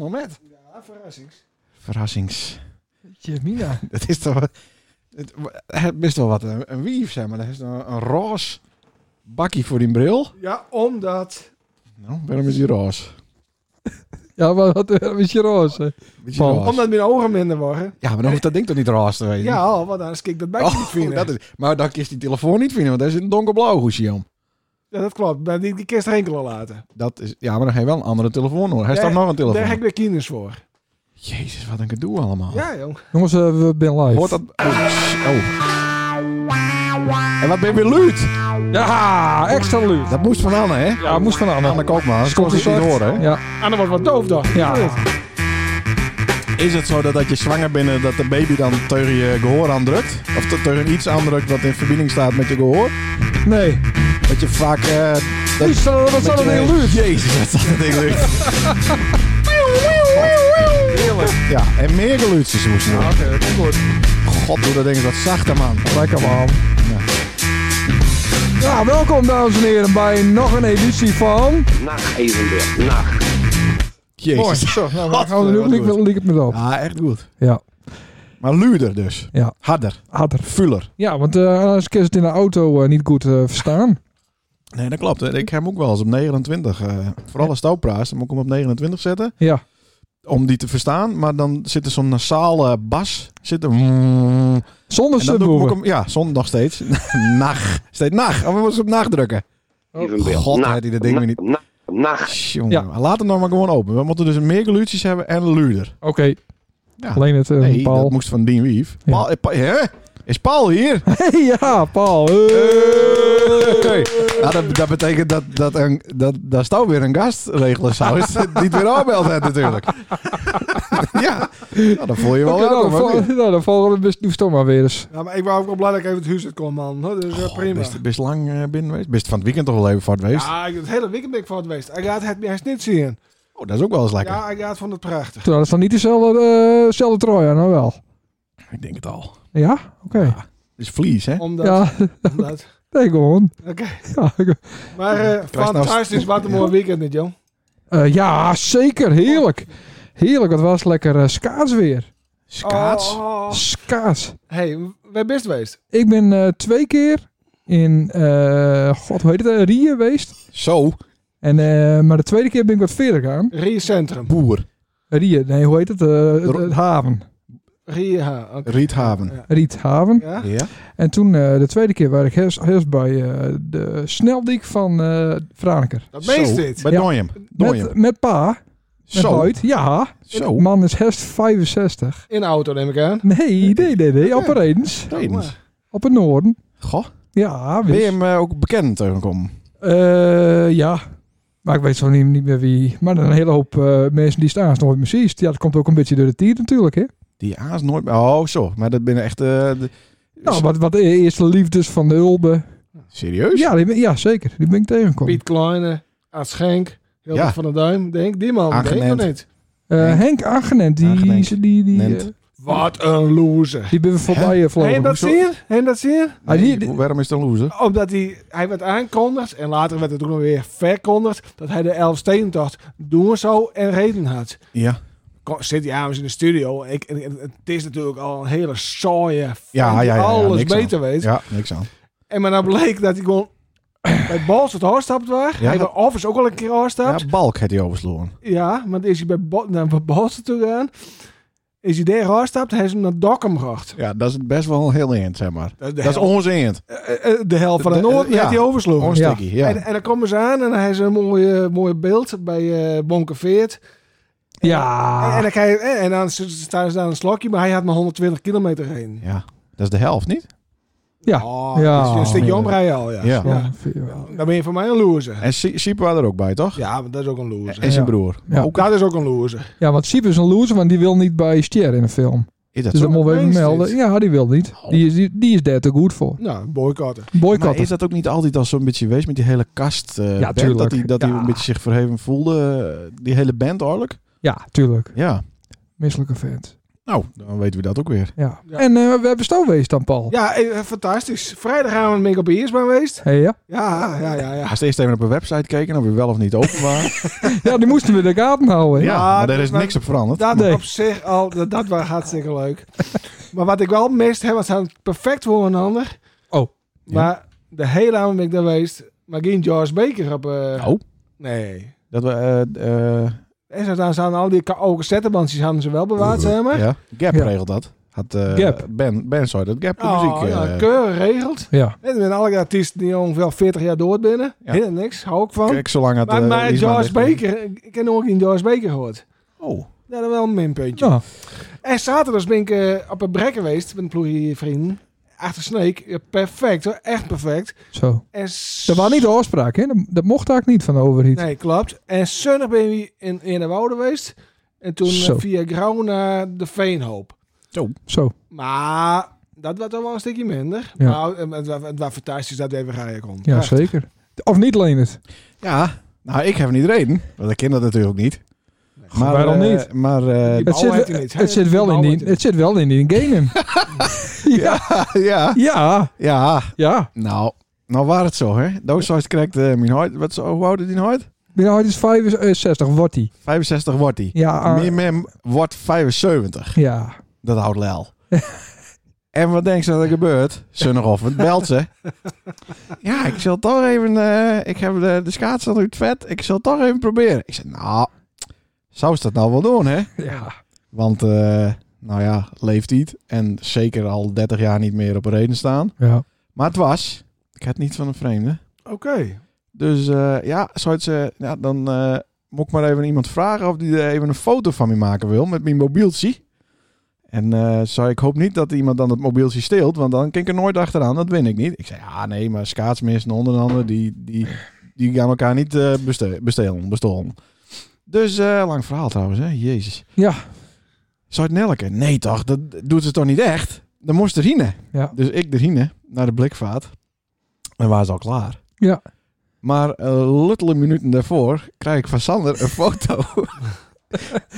allemaal met? Ja, verrassings. Verrassings. Jemina. Dat is toch... wat- Het, het is toch wat een, een wief, zeg maar. Dat is een, een roze bakkie voor die bril. Ja, omdat... Nou, waarom is die roze? Ja, maar wat een beetje roze. Beetje Paul. roze. Omdat mijn ogen minder worden. Ja, maar dan hoeft dat ding toch niet roze te wezen? Ja, al, want anders kijk ik dat bij Oh, niet vinden. dat is, maar dan kiest die telefoon niet vinden, want daar zit een donkerblauw hoesje om. Ja, dat klopt. Maar die, die kist er enkel al laten. Dat is, ja, maar dan ga je wel een andere telefoon hoor. Hij staat Nee, nog een Daar telefoon. Oh. heb ik weer kinders voor. Jezus, wat een gedoe allemaal. Ja, jong. Jongens, eh, we zijn live. Hoort dat... Oh. En wat ben je weer luid? Ja, extra luid. Dat moest van Anne, hè? Ja, moest van Anne. Anne Koopman, anders kon Komt ze het niet gezorgd. horen, hè? Ja, Anne wordt wat doof, toch? Ja. Is het zo dat, dat je zwanger bent dat de baby dan tegen je gehoor aandrukt? Of te- tegen iets aandrukt wat in verbinding staat met je gehoor? nee. Dat je vaak... eh dat, Is dat- Wat zal dat heel luid? Jezus, wat staat dat ding luid. Ja, en meer geluidjes moesten doen. Oké, dat is goed. God, doe dat ding eens wat zachter, man. Lekker man. Ja, welkom dames en heren bij nog een editie van... Nacht Evenbeeld. Nacht. Jezus. Zo, nou, Wat, Oh, eh, nu wat liep goed. me- liep het me op. Ja, echt goed. Ja, Maar luider dus. Ja. Harder. harder. Fuller. Ja, want eh anders kun je het in de auto eh, niet goed eh, verstaan. Nee, dat klopt. hè. Ik heb hem ook wel eens op 29. eh, vooral als touwpraat, dan moet ik hem op 29 zetten. Ja, om die te verstaan. Maar dan zit er zo'n nasale bas. Zit er... En zonder dan doe ik- moet ik subwoofer. hem, ja, zon nog steeds. nacht. Steeds nacht. Oh, we moeten op nacht drukken. Evenbeeld. God, Nacht. hij die dat ding weer niet. Nacht. Nacht. Jongen, Ja. laat het nou maar gewoon open. We moeten dus meer geluidjes hebben en luider. Oké, Ja. alleen het eh, nee, Paul. dat moest van Dien Wief. Ja. Paul, eh, Pa- hè? Is Paul hier? ja, Paul. Hey. Hey. Ja, Nou, dat, dat betekent dat, dat, een, dat daar staat weer een gastregelaar zou is, die het weer aanbelt hè, natuurlijk. ja, nou, dan voel je wel Oké, nou, welkom, dan hoor. val- nou, dan vallen we best nieuw maar weer eens. Ja, maar ik wou ook wel blij dat ik even het huis uit kon, man. Hoor, Dus eh, Goh, prima. Best, best lang eh, binnen geweest. Best van het weekend toch wel even voor geweest. Ja, ik heb het hele weekend ben ik voor het geweest. Ik had het juist niet zien. Oh, dat is ook wel eens lekker. Ja, ik had vond het prachtig. Toen dat is dan niet dezelfde, eh, dezelfde trui aan, nou wel. Ik denk het al. Ja? Oké. Ja. Het is vlies, hè? Omdat, Ja, omdat. nee, gewoon. Oké. Ja, ik- Maar eh, nou fantastisch, wat een mooi weekend dit, jong. eh, ja, zeker. Heerlijk. Heerlijk. Het was lekker eh, skaats weer. Skaats. Oh, oh, oh. Skaats. Hey, wij best geweest. Ik ben eh, twee keer in, eh, god, hoe heet het, eh, Rieën geweest. Zo. En, eh, maar de tweede keer ben ik wat verder gaan. Rie Centrum. Boer. Rieën, nee, hoe heet het? Eh, het, het haven. Rie, ha, oké. Riethaven. Ja. Eh, Riethaven. Ja? Ja? En toen eh, de tweede keer waar ik eerst eerst bij eh, de sneldiek van eh Franeker. Dat meest Zo. dit. Bij Ja. Nooijem. Nooijem. Met, met pa, met Zo. Boyd. Ja, Zo. Oh, man is herst 65. In de auto neem ik aan. Nee, nee, nee, nee, op een Redens. Redens. Op een Noorden. Goh. Ja, Ben je wist. hem eh, ook bekend tegengekomen? Eh, ja. Maar ik weet zo niet, niet meer wie. Maar een hele hoop eh, mensen die staan nooit meer ziet. Ja, dat komt ook een beetje door de tiert natuurlijk, hè. Die aas nooit... Oh, zo. Maar dat binnen echt... eh, de- Nou, wat, wat de eerste liefdes van de Ulbe. Serieus? Ja, die ben- ja, zeker. Die ben ik tegengekomen. Piet Kleine, Ad Schenk, heel Ja. van der Duim, denk Die man, denk ik Aangenend. nog niet. Eh, Henk Angenent, die, Angenent. die, die, die, Nent. eh, Wat een loser. die ben we voorbij eh, Heb vlogen. je dat Hoezo- zien? Heb je dat zien? Ah, die- Nee, die- Waarom is het een loser? Omdat hij, hij werd aankondigd en later werd het ook nog weer verkondigd dat hij de Elfstedentocht doen zo en reden had. Ja. Ko- Zit hij avonds in de studio. Ik, en- en het is natuurlijk al een hele saaie. vent Ja, ja, die ja, ja, alles niks beter weet. Ja, niks aan. En maar dan bleek dat hij gewoon bij Bals het afstapt was. Ja. Hij was Offers ook al een keer afstapt. Ja, Ja. Balk had hij oversloren. maar dan is hij bij, Bo naar bij Bals toe gegaan. Is hij daar afstapt, hij is hem naar Dokkum gebracht. Ja, dat is best wel een heel eind, zeg maar. Dat is de Dat is hel- ons eind. eh, eh, de hel van de De- Noord, eh, die ja. had hij oversloegen. Ons Ja. tikkie, ja. En, en dan komen ze aan en hij is een mooie, mooie beeld bij eh Bonkeveert. En, Ah. en, Ja. dan krijg je- eh, en, en dan s- staan ze daar een slokje, maar hij had maar 120 kilometer heen. Ja. Dat is de helft, niet? Ja. Oh, Ja. dus een stukje Ja. omrijden al, ja. Ja. Ja. Dan ben je voor mij een loser. En Sie- Siepe was er ook bij, toch? Ja, maar dat is ook een loser. En zijn Ja. broer. Ja. Ook, dat is ook een loser. Ja, want Siep is een loser, want die wil niet bij Stier in een film. is dat Dus zo? dat moeten we even Meen je melden. dit? Ja, die wil niet. Die is, die, die is daar te goed voor. Nou, boycotten. Maar is Boycotten. dat ook niet altijd al zo'n beetje geweest met die hele kast? eh, band, tuurlijk. dat hij dat hij Ja. een beetje zich verheven voelde. eh, die hele band eigenlijk. Ja, tuurlijk. Ja. Misselijke vent. Nou, dan weten we dat ook weer. Ja. Ja. En eh, we hebben stoomwees dan, Paul. Ja, eh, fantastisch. Vrijdag gaan we met op Biersbaan geweest. Hé, ja. Ja, ja, ja, ja. Als eerst even op een website kijken of we wel of niet open waren. ja, die moesten we in de gaten houden. hè. ja, maar daar is maar- niks op veranderd. Dat Nee. op zich al, dat, dat was hartstikke leuk. maar wat ik wel mist, hè, want ze hadden het perfect voor een ander. Oh. Ja. Maar de hele avond ben ik daar geweest, maar geen George Baker op... eh, Oh. Nee. Dat we, eh, eh, En ze hadden- ze hadden al die ka- oude cassettebandjes hadden ze wel bewaard, zeg maar. ja, Gap Ja. regelt dat. Had, eh, Gap. Ben, ben sorry, dat Gap de Oh, muziek. eh, ja, keurig geregeld. Ja. En met alle artiesten die ongeveer 40 jaar dood binnen. Ja. Helemaal niks, hou ik van. Kijk, zolang het... maar eh, maar iets maar George ligt, eh. Baker, ik- ik heb nog geen George Baker gehoord. Oh, Ja, dat is wel een minpuntje. Ja. En zaterdag ben ik eh, op een brek geweest met een ploegje vrienden. Achter Snake. Ja, Perfect hoor, echt perfect. Zo. En s- Dat was niet de oorspraak, hè? Dat, dat mocht eigenlijk niet van de overheid. Nee, klopt. En zondag ben je in, in de Woude geweest. En toen eh, Zo. via Grauw naar de Veenhoop. Zo. Maar dat was dan wel een stukje minder. Ja. Maar eh, het, was- het was fantastisch dat we even gaan kon. Ja, Echt. zeker. Of niet, Leonard. ja. Nou, ik heb niet reden. Want ik ken dat natuurlijk niet. Maar, waarom eh, niet? Maar... eh, Die Het bal zit, heeft hij niet. het, zit wel in bal die, heeft hij het zit wel in die game. ja. ja, Ja. ja. Ja. Nou, nou waar het zo, hè? Dooshuis krijgt eh mijn hart. Wat zo, hoe oud is die nou hart? Binnen nou, is 65, wordt die. 65 wordt hij. Ja. ah, Meer mem wordt 75. ja. Dat houdt lel. en wat denk je dat er gebeurt? Zondagochtend belt ze. ja, ik zal toch even... eh, ik heb de, de schaats al uit vet. Ik zal toch even proberen. Ik zei, nou... Zou ze dat nou wel doen, hè? Ja. Want, eh, nou ja, leeft niet. En zeker al 30 jaar niet meer op een reden staan. Ja. Maar het was... Ik had niet van een vreemde. Oké. Dus eh, ja, zou het ze, ja, dan eh, moet ik maar even iemand vragen of die er even een foto van me maken wil met mijn mobieltje. En eh, zei ik hoop niet dat iemand dan het mobieltje steelt, want dan kan ik er nooit achteraan. Dat win ik niet. Ik zei, ja nee, maar schaatsmissen onder andere, die, die, die gaan elkaar niet eh, beste- bestelen, bestolen. Dus eh, lang verhaal trouwens, hè? Jezus. Ja. Zou het Nelke? Nee toch, dat doet ze toch niet echt? Dan moest er hine. Ja. Dus ik erheen naar de blikvaat. En waren ze al klaar. Ja. Maar eh luttele minuten daarvoor krijg ik van Sander een foto.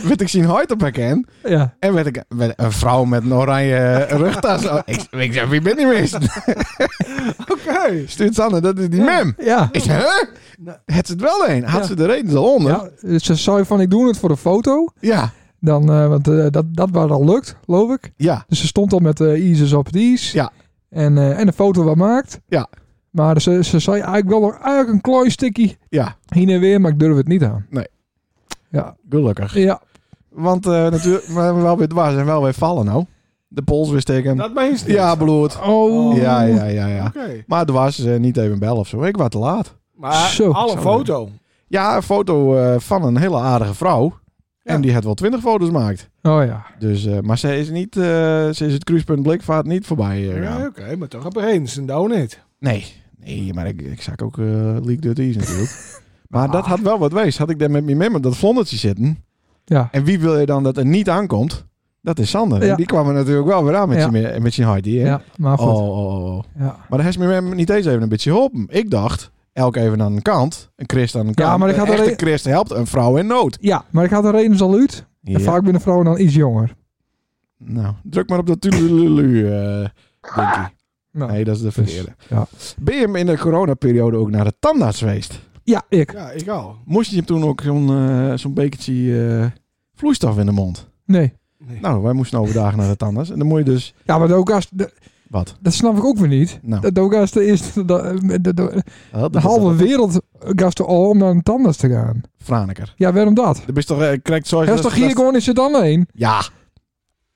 werd ik zien hart op herken. Ja. En werd ik werd een vrouw met een oranje rugtas. Oh, ik, ik zeg, wie ben je geweest? Oké. Stuurt Sander, dat is die mem. Ja. Ik zeg, hè? Nou. Het zit wel een. Had Ja. ze de reden al onder? Ja. Ja, dus ze zei van ik doe het voor de foto. Dan, eh, want eh, dat, dat was al lukt, geloof ik. ja, Dus ze stond al met de ISIS op het IS. Ja. En, eh, en de foto wat maakt. Ja. Maar ze, ze zei eigenlijk wel nog eigenlijk een klein stukje ja. heen en weer, maar ik durf het niet aan. Nee. Ja. Gelukkig. Ja. Want eh, natuurlijk, maar wel weer dwars en wel weer vallen nou. De pols weer steken. Dat meen je niet. Ja, bloed. Oh. Ja, ja, ja, ja. Oké. Maar het was eh, niet even bel of zo. Ik was te laat. Maar Zo, al een zo. foto. Ja, een foto eh, van een hele aardige vrouw. En die had wel twintig foto's gemaakt. Oh ja. Dus, eh, maar ze is, niet, eh, ze is het cruisepunt Blikvaart niet voorbij eh, gegaan. Ja, Oké, maar toch op een en dan niet. Nee, nee, maar ik, ik zag ook eh Leak Dirty Ease natuurlijk. maar Ah. dat had wel wat wees. Had ik daar met mijn memmer dat vlondertje zitten. Ja. En wie wil je dan dat er niet aankomt? Dat is Sander. Ja. En die kwam er natuurlijk wel weer aan met Ja. zijn eh, met zijn hardie. hè? Ja. Maar goed. Oh, oh, oh, oh. Ja. Maar daar heeft mijn memmer niet eens even een beetje geholpen. Ik dacht, elk even aan de kant. Een christ aan de Ja, kant. maar ik had een echte alleen- christ helpt een vrouw in nood. ja. Maar ik had een reden al uit. En Ja. vaak ben de vrouwen dan iets jonger. Nou, druk maar op dat tulululu, eh Dinky. Nou. Nee, dat is de verkeerde. ja. Ben je hem in de coronaperiode ook naar de tandarts geweest? Ja, ik. Ja, ik al. Moest je hem toen ook zo'n eh, zo'n bekertje eh, vloeistof in de mond? Nee. Nee. Nou, wij moesten overdag naar de tandarts. En dan moet je dus... Ja, maar ook als... de- Wat? Dat snap ik ook weer niet. Nou. Dat ook als de eerste... dat- eh, de- de- Dat de halve wereld gast er al om naar een tandarts te gaan. Franeker. Ja, waarom dat? Dat is toch... eh, krijgt zo... Hij is toch hier gewoon in dan heen? Ja.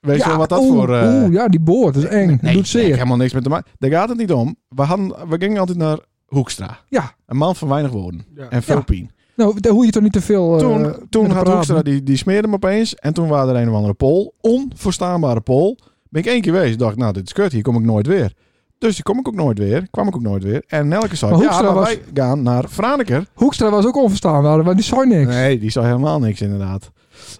Weet je ja, wel wat dat oeh, voor... eh, oeh, ja, die boord is eng. dat Nee, doet nee, zeer. helemaal niks met te maken. Daar gaat het niet om. We, hadden, we gingen altijd naar Hoekstra. Ja. Een man van weinig woorden. Ja. En veel Ja. pijn. nou, daar hoef je toch niet te veel. eh, toen, met toen te had praten. Hoekstra, die, die smeerde hem opeens. En toen waren er een of andere pol. Onverstaanbare pol. Ben ik één keer geweest. Dacht, nou, dit is kut. Hier kom ik nooit weer. Dus hier kom ik ook nooit weer. Kwam ik ook nooit weer. En elke zei, Maar ja, Hoekstra maar was- wij gaan naar Franeker. Hoekstra was ook onverstaanbaar, maar die zei niks. Nee, die zei helemaal niks inderdaad.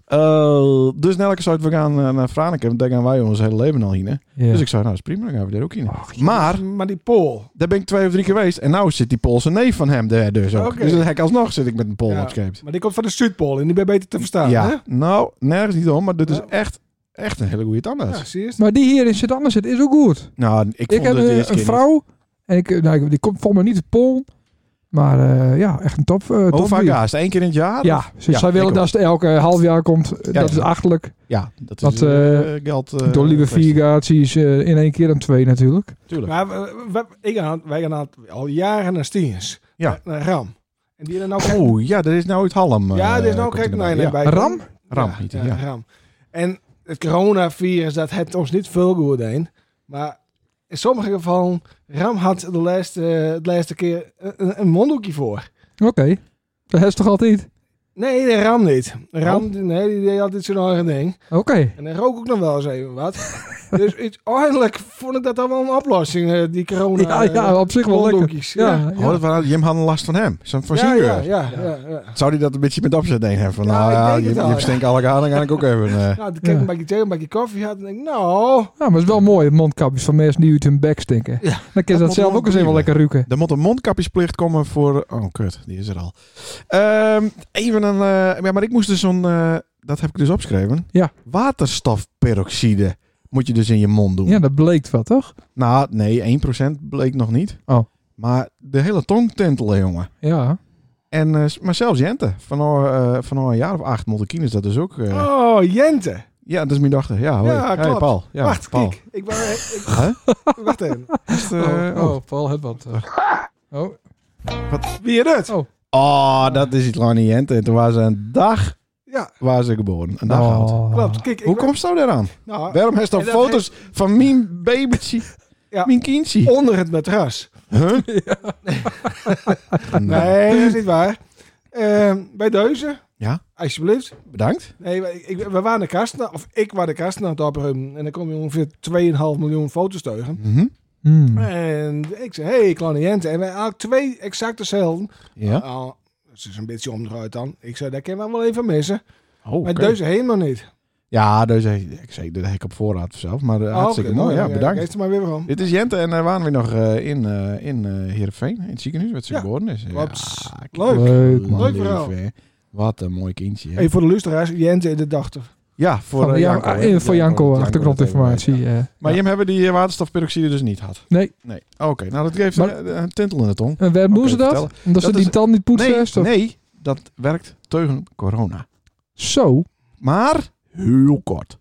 Eh, dus Nelke zei, we gaan eh, naar Franeker. Want daar gaan wij ons hele leven al heen. hè. Ja. Dus ik zei, nou, dat is prima. Dan gaan we daar ook heen. Ach, maar, Maar die Pool. daar ben ik twee of drie keer geweest. En nou zit die Poolse neef van hem daar dus ook. Oké. Dus dan heb ik alsnog zit ik met een Pool Ja. opgescheept. Maar die komt van de Zuidpool en die ben je beter te verstaan. ja, Hè? nou, nergens niet om, maar dit is Ja. echt, Echt een hele goede tandarts. Ja, zie je het? Maar die hier in Sint-Anne zit is ook goed. Nou, ik, Ik vond heb het de eh, eerste een keer vrouw. En ik, nou, ik- die komt volgens mij niet uit Polen. Maar eh, ja, echt een top. eh niet. Hoe top vaak bier. haast? Eén keer in het jaar? Ja, ze, Ja, zij ik willen ook. dat ze elke half jaar komt. Eh, Ja, dat ja. is achterlijk. Ja, dat Want, is eh, geld. eh, Door lieve kwestie. viergaties eh in één keer dan twee natuurlijk. Tuurlijk. Maar we, we- ik aan, wij gaan aan- al jaren naar Stiens. Ja. Naar Ram. En die er nou... Oeh, ja, er is nou het Halm. ja, eh, er is nou komt kijk erbij. naar Ja. bij. Ram? Ram, Ja, niet, ja, ja. Ram. En het coronavirus, dat heeft ons niet veel goed heen. Maar in sommige gevallen, Ram had de laatste, de laatste keer een, een monddoekje voor. Oké. Dat is toch altijd? Nee, de Ram niet. Ram, Oh. nee, die deed altijd zijn eigen ding. Oké. En hij rook ook nog wel eens even wat. dus uiteindelijk vond ik dat dan wel een oplossing, eh, die corona Ja, ja, op zich wel lekker. monddoekjes. Ja, Oh, dat waren, Jim had een last van hem. Zijn van ja, zijn ja, geur. ja, ja, ja. Zou hij dat een beetje met opzet heen hebben? Van, Ja, nou ik ja, denk je, het wel, je ja. stinkt alle aan, dan kan ik ook even... eh, Nou, toen kreeg ik Ja. een bakje thee, een bakje koffie had en denk ik, nou... Ja, maar het is wel mooi, mondkapjes van mensen die uit hun bek stinken. Ja. Dan kun je Dat dat moet zelf wel ook eens even prima. lekker ruiken. Er moet een mondkapjesplicht komen voor... Oh, kut. Die is er al. Ehm, even een... eh, ja, maar ik moest dus zo'n... eh, dat heb ik dus opgeschreven. Ja. Waterstofperoxide moet je dus in je mond doen. Ja, dat bleekt wat, toch? Nou, nee, 1% bleek nog niet. Oh. Maar de hele tong tentelen, jongen. Ja. En, eh, maar zelfs Jente, van al, eh, van al een jaar of acht Montekine is dat dus ook. eh, Oh, Jente. Ja, dat is mijn dochter. Ja, hoi. Ja, Hey, klopt. Paul. Ja, Wacht, Paul. kijk. Ik ben... Ik, Huh? wacht even. Is, eh, oh. Paul, het wat. Oh. Wie je dat? Oh, dat is Itlani Jente. En toen was ze een dag Ja, waar ze geboren. Een Oh. dag oud. klopt. Kijk, ik Hoe ben- komt zo daaraan? nou, Waarom heeft dan en dat foto's van mijn babytje? Ja. Mijn kindje? onder het matras. Huh? Nee. Nee, dat is niet waar. Ehm, bij Deuzen. Ja. Alsjeblieft. Bedankt. Nee, wij- ik, we waren de kast, of ik was de kast aan het opruimen. En dan kom je ongeveer 2,5 miljoen foto's tegen. Mhm. Hmm. En ik zei, hey, kleine Jente. En wij eigenlijk twee exact dezelfde. Ja. Nou, het is een beetje omdraaid dan. Ik zei, daar kunnen we wel even missen. Oh, oké. Maar dus- Deuzen helemaal niet. Ja, dus hij- ik zei, dat heb ik op voorraad zelf. Maar eh, Oh, hartstikke mooi. Ja, bedankt. Geef er maar weer van. Dit is Jente en daar waren we nog eh, in, eh in eh Heerenveen, in het ziekenhuis, waar ze Ja. geboren is. Klopt. kijk. Leuk. Leuk, man. Leuk verhaal. lief, hè. Wat een mooi kindje. hè. Even voor de luisteraars, Jente is de dochter. Ja, voor Van eh, Jan- Janko. ah, hè. eh, voor Janko, achtergrondinformatie. eh. Maar Ja. Jim hebben die eh, waterstofperoxide dus niet gehad? Nee. Nee. Oké, nou dat geeft Maar- een, een tintel in de tong. En waarom doen Oké, ze dat? vertel. Omdat Dat ze is- die tand niet poetsen? Nee, is toch- nee, dat werkt tegen corona. Zo? Oké. Maar heel kort.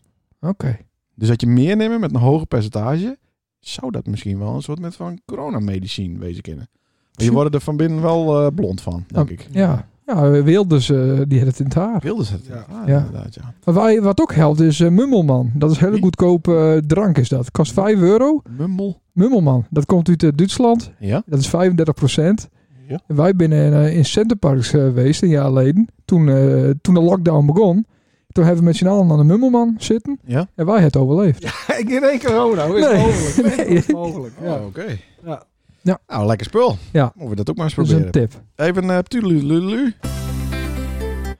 Dus dat je meer neemt met een hoger percentage, zou dat misschien wel een soort met van coronamedicijn wezen kunnen. Maar je wordt er van binnen wel eh, blond van, denk Oh. ik. Ja. Ja, Wilders, eh, die had het in het haar. Wilde ze het? Ja. Ah, Ja. inderdaad, ja. Maar wij- wat ook helpt is eh, Mummelman. Dat is hele Wie? goedkope eh, drank is dat. Kost 5 euro. Mummel. Mummelman. Dat komt uit eh, Duitsland. Ja. Dat is 35 procent. Ja. Wij binnen in, eh, in Centerparks eh, geweest een jaar geleden. Toen, eh, toen de lockdown begon. Toen hebben we met z'n allen aan de Mummelman zitten. Ja. En wij het overleefd. Ik in één corona, hoe is Nee. het mogelijk? Hoe is het mogelijk? Oh, Ja. Oké. Ja. Ja. Nou, lekker spul. Ja. Moeten we dat ook maar eens Dat is een proberen. tip. Even eh ptulululu.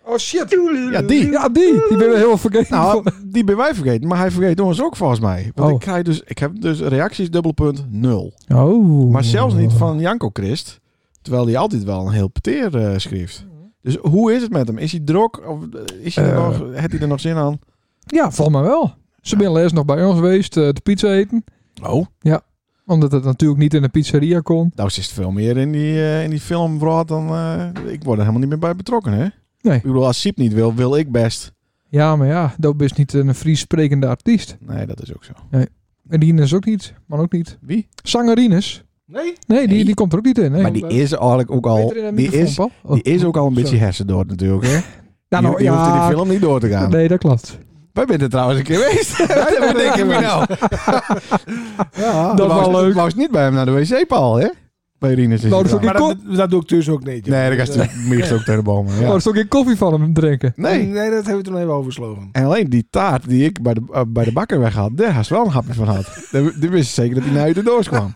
Oh shit. Ja, die. Ja, die. Die ben we helemaal vergeten. Nou, die ben wij vergeten, maar hij vergeet ons ook volgens mij. Want Oh. ik krijg dus, ik heb dus reacties dubbelpunt nul. oh. Nou, Maar zelfs niet van Janko Christ, terwijl hij altijd wel een heel peteer eh, schreef. Mhm. Dus hoe is het met hem? Is hij drok? Of eh, is hij er Eh. nog, heeft hij er nog zin aan? Ja, volgens mij wel. Ze zijn les nog bij ons geweest. eh, de pizza eten. Oh, Omdat het natuurlijk niet in de pizzeria kon. nou zit veel meer in die, eh, in die filmverhaal dan... eh, ik word er helemaal niet meer bij betrokken, hè? Nee. Ik bedoel, als Siep niet wil, wil ik best. Ja, maar ja, dat is niet een Fries sprekende artiest. Nee, dat is ook zo. En Rines ook niet, man ook niet. Wie? Zangerines? Nee? Nee, die, Nee. die komt er ook niet in. Nee. maar die is eigenlijk ook al... Beter in een Die microfoon, is, Paul. Oh. die is ook al een beetje Sorry. hersendood natuurlijk, hè? Nou, die, nou, die ja, hoeft in die film niet door te gaan. Nee, dat klopt. Wij zijn er trouwens een keer geweest. Wat denk je mij nou? Ja. Dat was leuk. Wou niet bij hem naar de wc-paal, hè? Bij Rinus is Nou, het dat wel. Maar dat, dat doe ik dus ook niet. joh. Nee, dat is meest ook tegen de bomen. Oh, Ja. er is ook geen koffie van hem drinken. Nee. Nee. nee, dat hebben we toen even overslogen. En alleen die taart die ik bij de, eh, bij de bakker weg had, daar had ze wel een hapje van had. Die die wist zeker dat hij naar uit de doos kwam.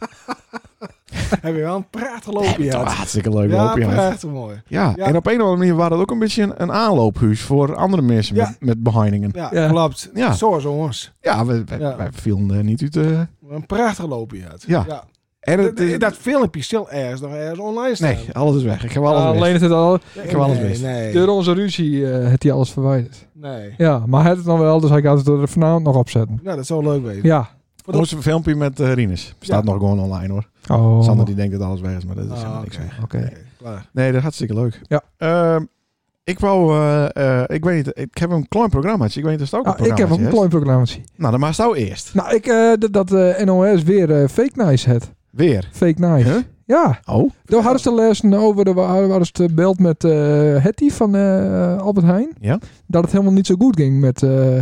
Hebben we wel een prachtig loopje Ja, gehad. hartstikke leuk Ja, loopje. hè. prachtig mooi. Ja, Ja. en op een of andere manier waren dat ook een beetje een, een aanloophuis voor andere mensen Ja. met, met behindingen. Ja, Ja. klopt. Ja. Zo jongens. Ja, we, we- Ja. wij vielen er niet uit. eh, Een prachtig loopje had. Ja. ja. En het is- Dat, dat filmpje is stil ergens nog ergens online staan. nee, alles is weg. Ik heb alles Alleen Alleen... het het al, Nee, ik heb alles nee, mis. Nee, door onze ruzie eh heeft hij alles verwijderd. nee. Ja, maar hij had het nog wel, dus hij gaat het er vanavond nog opzetten. Nou, dat zou leuk wezen. Ja. Onze filmpje met eh, Rinus. Staat Ja. nog gewoon online hoor. Oh, Sander oké. die denkt dat alles weg is, maar dat is Ah, helemaal niks oké. weg. Nee, klaar. Nee, dat is hartstikke leuk. Ja. Ehm, ik wou, eh, eh, ik weet niet, ik heb een klein programmaatje. Ik weet niet of het ook een Ah, ik heb ook programmaatje een is. klein programmaatje. Nou, dan maar jou eerst. Nou, ik, eh, dat- dat eh, NOS weer eh, fake nice het. Weer. Fake nice. Huh? Ja. Oh. Door hadden ze lezen over de wa- hadden ze het beeld met eh Hetty van eh, Albert Heijn. Ja. Dat het helemaal niet zo goed ging met, eh,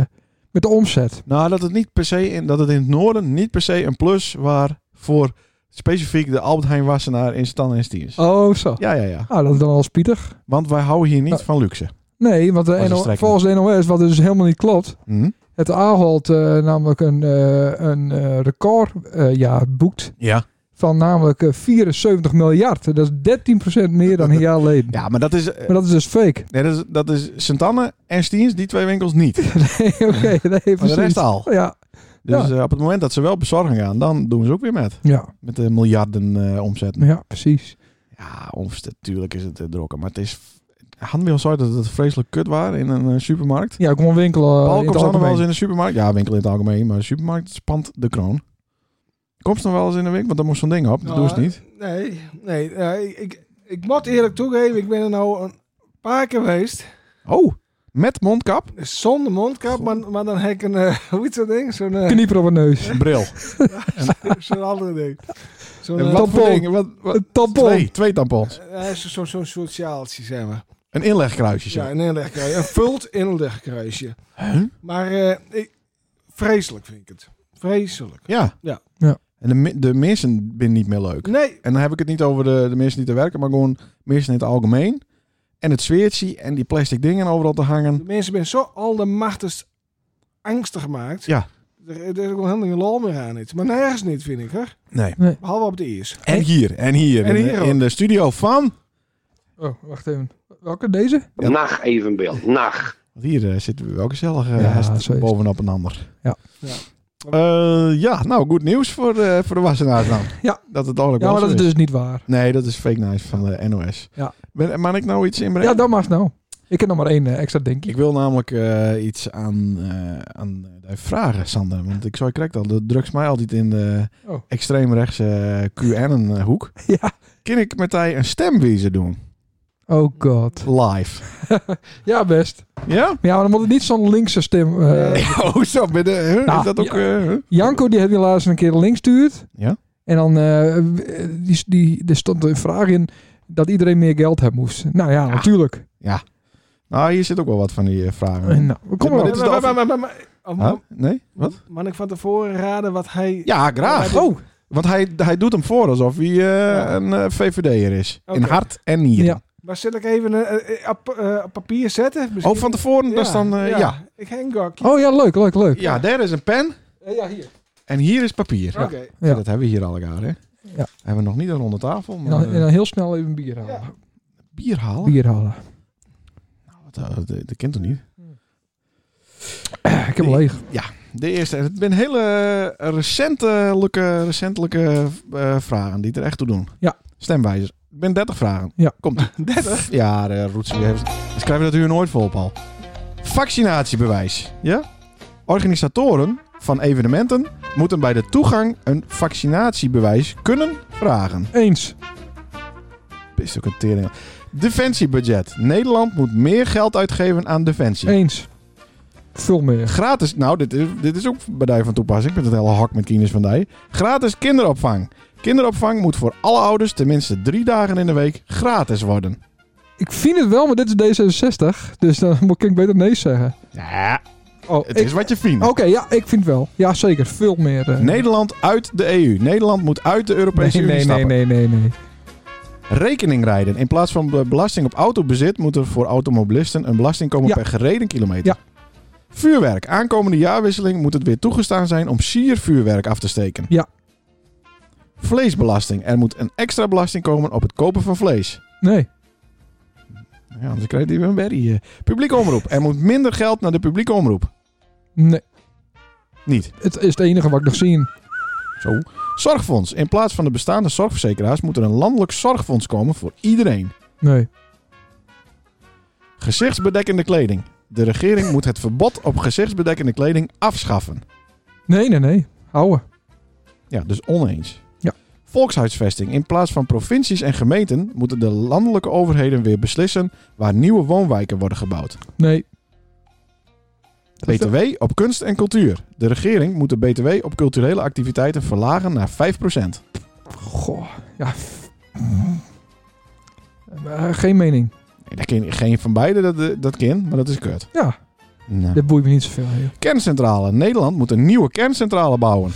met de omzet. Nou, dat het niet per se in, dat het in het noorden niet per se een plus waar voor specifiek de Albert Heijn wassenaar in Stan en Stiers. Oh, zo. Ja, ja, ja. Ah, dat is dan al spietig. Want wij houden hier niet Nou. van luxe. Nee, want de Was een NO strekking. volgens de NOS, wat dus helemaal niet klopt. Hm? Het Ahold eh, namelijk een, eh een eh, record eh, ja, boekt Ja. van namelijk eh, 74 miljard. Dat is 13% meer dan een jaar geleden. Ja, maar dat is, eh, Maar dat is dus fake. nee, dat is, dat is Sint-Anne en Stiers, die twee winkels niet. Nee, Oké, nee, Maar de precies. rest al. Ja, Dus Ja. eh, op het moment dat ze wel bezorgen gaan, dan doen ze ook weer met. ja, Met de miljarden eh omzetten. ja, precies. Ja, onverst- natuurlijk is het eh, drokken. Maar het is... Handel zei dat het vreselijk kut was in een eh, supermarkt. Ja, gewoon winkelen. eh, Paul, in het komt ze nog wel eens algemeen. in de supermarkt? Ja, winkel in het algemeen, maar de supermarkt spant de kroon. Komt ze nog wel eens in de winkel? Want dan moest zo'n ding op. Dat doen ze Nou, niet. Nee, nee. eh, ik, ik, ik moet eerlijk toegeven, ik ben er nou een paar keer geweest. dus Oh, met mondkap? Zonder mondkap, maar, maar dan heb ik een, eh, hoe heet zo'n ding? Zo'n eh, Knieper op een neus. Bril. zo'n andere ding. Zo'n En eh, wat voor tampon. ding? Wat, wat- Een tampon. Twee, twee tampons. eh, zo- zo'n zo'n soort sjaaltje, zeg maar. Een inlegkruisje. zo. Ja, een inlegkruisje. Een vult inlegkruisje. Huh? Maar eh, ik, vreselijk vind ik het. Vreselijk. Ja. Ja. Ja. En de, mi- de mensen zijn niet meer leuk. Nee, En dan heb ik het niet over de, de mensen die te werken, maar gewoon mensen in het algemeen. En het zweertje en die plastic dingen overal te de hangen. mensen zijn zo allemachtig angstig gemaakt. Ja. Er, er is ook wel helemaal geen lol meer aan iets. Maar nergens niet, vind ik, hè. Nee. Behalve op de is. En hier, en hier. En in, hier de, ook. in de studio van. Oh, wacht even. Welke? Deze? Ja. Nacht evenbeeld. Nacht. Want hier eh, zitten we wel gezellig eh, Ja, haast zo is het. bovenop een ander. Ja. Ja. Eh, ja, nou, goed nieuws voor, eh, voor de wassenaars dan. Ja. Dat het eigenlijk Ja, wel maar zo dat is is. dus niet waar. Nee, dat is fake nice van de NOS. Ja. Ben, mag ik nou iets inbrengen? Ja, dat mag nou. Ik heb nog maar één eh, extra denkje. Ik wil namelijk eh, iets aan, eh aan eh, vragen, Sander. Want ik zou correct al, dat drugs mij altijd in de Oh. extreemrechtse QAnon-hoek. Ja. Kan ik met hij een stemwijzer doen? Oh god. Live. Ja, best. Ja? Ja, maar dan moet het niet zo'n linkse stem... eh, Oh, zo. Bij de, huh? Nou, is dat ook... eh, huh? Janko die heb je laatst een keer links stuurt. Ja. En dan eh, die, die, er stond een vraag in dat iedereen meer geld hebben moest. Nou ja, natuurlijk. Nou, hier zit ook wel wat van die eh, Eh, vragen. Nou, kom maar maar op. dit is de Maar- maar- af- maar- maar- maar- oh, Huh? maar- Nee? Wat? Mag ik van tevoren raden wat hij... Ja, graag. Oh, Want hij, hij doet hem voor alsof hij eh, een eh, VVD'er is. In Oké. hart en nieren. Ja. Maar zal ik even eh, eh, op, eh, op papier zetten? Oh, van tevoren? Dat is dan... eh, ja. Ja. Ik hang ook. oh ja, leuk, leuk, leuk. daar is een pen. ja, hier. En hier is papier. Oké. Ja. Ja, dat hebben we hier al elkaar, hè? Ja. Hebben we nog niet aan onder tafel, En maar dan, en eh, dan heel snel even bier halen. Ja. bier halen? Bier halen. Wat, eh, dat, dat kent toch niet? Ik heb leeg. De eerste, en het zijn hele eh, recentelijke, recentelijke eh, vragen die er echt toe doen. Ja. Stemwijzer. Ik ben 30 vragen. Ja. Komt. 30? Ja, de roetsie heeft. Dan schrijven we dat u nooit vol, Paul. Vaccinatiebewijs. Ja? Organisatoren van evenementen moeten bij de toegang een vaccinatiebewijs kunnen vragen. Eens. Is ook een tering. Defensiebudget. Nederland moet meer geld uitgeven aan defensie. Eens. Veel meer. Gratis, nou, dit is, dit is ook bij Dij van toepassing. Ik ben het hele hak met Kines van Dij. Gratis kinderopvang. Kinderopvang moet voor alle ouders tenminste drie dagen in de week gratis worden. Ik vind het wel, maar dit is D66. Dus dan moet ik beter nee zeggen. Ja, Oh, het ik- is wat je vindt. Oké, ja, ik vind wel. Ja, zeker. Veel meer. eh. Nederland uit de EU. Nederland moet uit de Europese nee, Unie nee, nee, stappen. nee, nee, nee. Rekening rijden. In plaats van be- belasting op autobezit moet er voor automobilisten een belasting komen Ja. per gereden kilometer. Ja. Vuurwerk. Aankomende jaarwisseling moet het weer toegestaan zijn om siervuurwerk af te steken. Ja. Vleesbelasting. Er moet een extra belasting komen op het kopen van vlees. Nee. Ja, anders krijg je weer een berry. eh. Publieke omroep. Er moet minder geld naar de publieke omroep. Nee. Niet. Het is het enige wat ik nog zie. Zo. Zorgfonds. In plaats van de bestaande zorgverzekeraars moet er een landelijk zorgfonds komen voor iedereen. Nee. Gezichtsbedekkende kleding. De regering moet het verbod op gezichtsbedekkende kleding afschaffen. Nee, nee, nee. Houden. Ja, dus oneens. Ja. Volkshuisvesting. In plaats van provincies en gemeenten moeten de landelijke overheden weer beslissen waar nieuwe woonwijken worden gebouwd. Nee. BTW op kunst en cultuur. De regering moet de BTW op culturele activiteiten verlagen naar 5%. Goh, ja. Eh, geen mening. Nee, dat ken, geen van beide dat, dat ken, maar dat is kut. Ja, Nou. dit boeit me niet zoveel. joh. Kerncentrale. Nederland moet een nieuwe kerncentrale bouwen.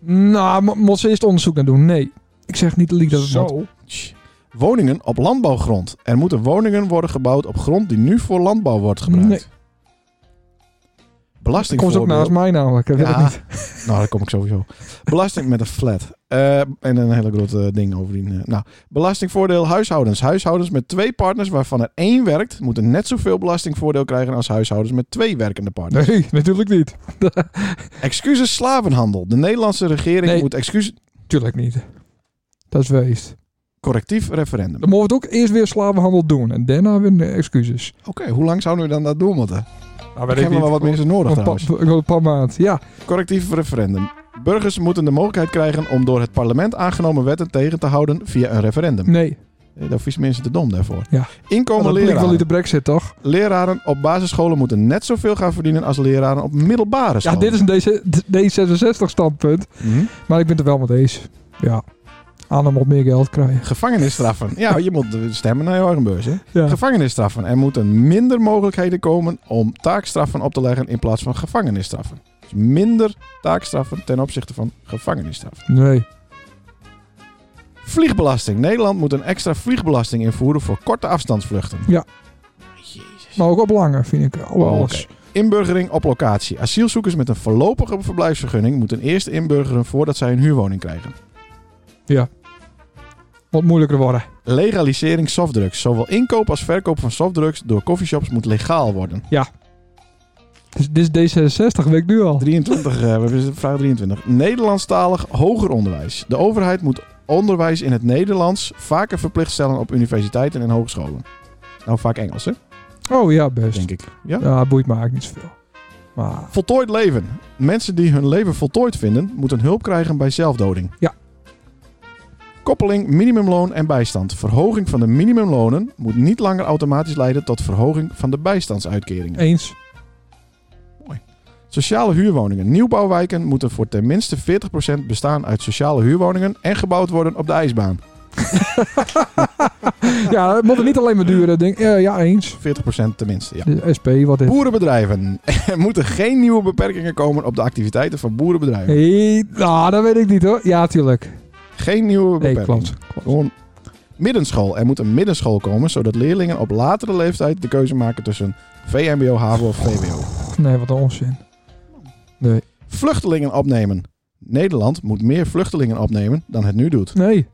Nou, mo- moet ze eerst onderzoek naar doen? Nee. Ik zeg niet liek dat het moet. Zo. Tsch. Woningen op landbouwgrond. Er moeten woningen worden gebouwd op grond die nu voor landbouw wordt gebruikt. Nee. Belasting Komt ze ook naast mij namelijk. Dat wil ik Ja. niet. Nou, daar kom ik sowieso. Belasting met een flat. Eh, en een hele grote eh, ding overdien. eh. nou, belastingvoordeel huishoudens. Huishoudens met twee partners waarvan er één werkt, moeten net zoveel belastingvoordeel krijgen als huishoudens met twee werkende partners. Nee, natuurlijk niet. Excuses slavenhandel. De Nederlandse regering Nee. moet excuses. Tuurlijk niet. Dat is weest. Correctief referendum. Dan moeten we het ook eerst weer slavenhandel doen. En daarna weer eh, excuses. Oké, hoe lang zouden we dan dat doen moeten? Nou, Ik heb wel wat mensen nodig trouwens. Een paar maanden. Ja, Correctief referendum. Burgers moeten de mogelijkheid krijgen om door het parlement aangenomen wetten tegen te houden via een referendum. nee. Eh, Daar vies mensen te dom daarvoor. Hm. Ja. Inkomen Dat klinkt wel leraren. niet de brexit, toch? Leraren op basisscholen moeten net zoveel gaan verdienen als leraren op middelbare Ja, scholen. dit is een D66 standpunt. Mhm. Maar ik ben het er wel met eens. Ja. Anna moet meer geld krijgen. Gevangenisstraffen. Ja, je moet stemmen naar je eigen beurs. Hè? Ja. Gevangenisstraffen. Er moeten minder mogelijkheden komen om taakstraffen op te leggen in plaats van gevangenisstraffen. Dus minder taakstraffen ten opzichte van gevangenisstraffen. Nee. Vliegbelasting. Nederland moet een extra vliegbelasting invoeren voor korte afstandsvluchten. Ja. Jezus. Maar ook op langer, vind ik. Alle Oh, alles. oké. Inburgering op locatie. Asielzoekers met een voorlopige verblijfsvergunning moeten eerst inburgeren voordat zij een huurwoning krijgen. Wat moeilijker worden. Legalisering softdrugs. Zowel inkoop als verkoop van softdrugs door coffeeshops moet legaal worden. Dus dit is D66, weet ik nu al. 23, eh, we hebben vraag 23. Nederlandstalig hoger onderwijs. De overheid moet onderwijs in het Nederlands vaker verplicht stellen op universiteiten en hogescholen. Nou, vaak Engels, hè? Oh ja, best. Denk ik. Ja? Ja, boeit me eigenlijk niet zoveel. Maar Voltooid leven. Mensen die hun leven voltooid vinden, moeten hulp krijgen bij zelfdoding. Ja. Koppeling minimumloon en bijstand. Verhoging van de minimumlonen moet niet langer automatisch leiden tot verhoging van de bijstandsuitkeringen. eens. Sociale huurwoningen. Nieuwbouwwijken moeten voor ten minste 40% bestaan uit sociale huurwoningen en gebouwd worden op de ijsbaan. Ja, het moet er niet alleen maar duren. Denk, eh, ja, eens. 40% tenminste, ja. De SP, wat is Boerenbedrijven. Er moeten geen nieuwe beperkingen komen op de activiteiten van boerenbedrijven. Nee, nou, dat weet ik niet hoor. Ja, tuurlijk. Geen nieuwe Nee, beperkingen. klopt. klopt. Gewoon middenschool. Er moet een middenschool komen, zodat leerlingen op latere leeftijd de keuze maken tussen VMBO, HAVO of VWO. Nee, wat een onzin. Vluchtelingen opnemen. Nederland moet meer vluchtelingen opnemen dan het nu doet. Nee.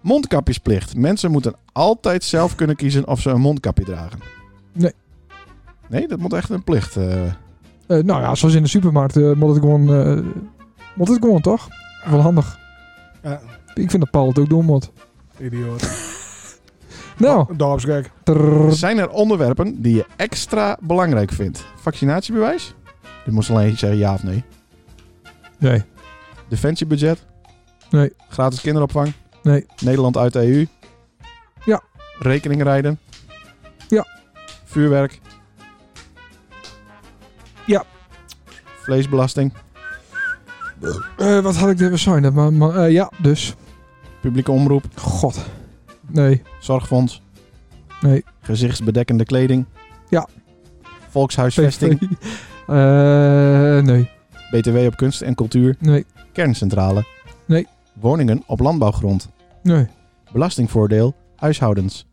Mondkapjesplicht. Mensen moeten altijd zelf kunnen kiezen of ze een mondkapje dragen. Nee. Nee, dat moet echt een plicht. eh. Eh, nou ja, zoals in de supermarkt eh, moet het gewoon... eh, moet het gewoon, toch? Wel handig. Ja, Ik vind dat Paul het ook doen moet. idioot. Oh, Nou. Dorpsgek. trrr. Zijn er onderwerpen die je extra belangrijk vindt? Vaccinatiebewijs? Dit moest alleen zeggen ja of nee. Nee. Defensiebudget? Nee. Gratis kinderopvang? Nee. Nederland uit de EU? Ja. Rekening rijden? Ja. Vuurwerk? Ja. Vleesbelasting? Eh, wat had ik er zijn? Dat maar, maar, eh, ja, dus. Publieke omroep? God. Nee. Zorgfonds? Nee. Gezichtsbedekkende kleding? Ja. Volkshuisvesting? Eh, nee. BTW op kunst en cultuur? Nee. Kerncentrale? Nee. Woningen op landbouwgrond? Nee. Belastingvoordeel, huishoudens.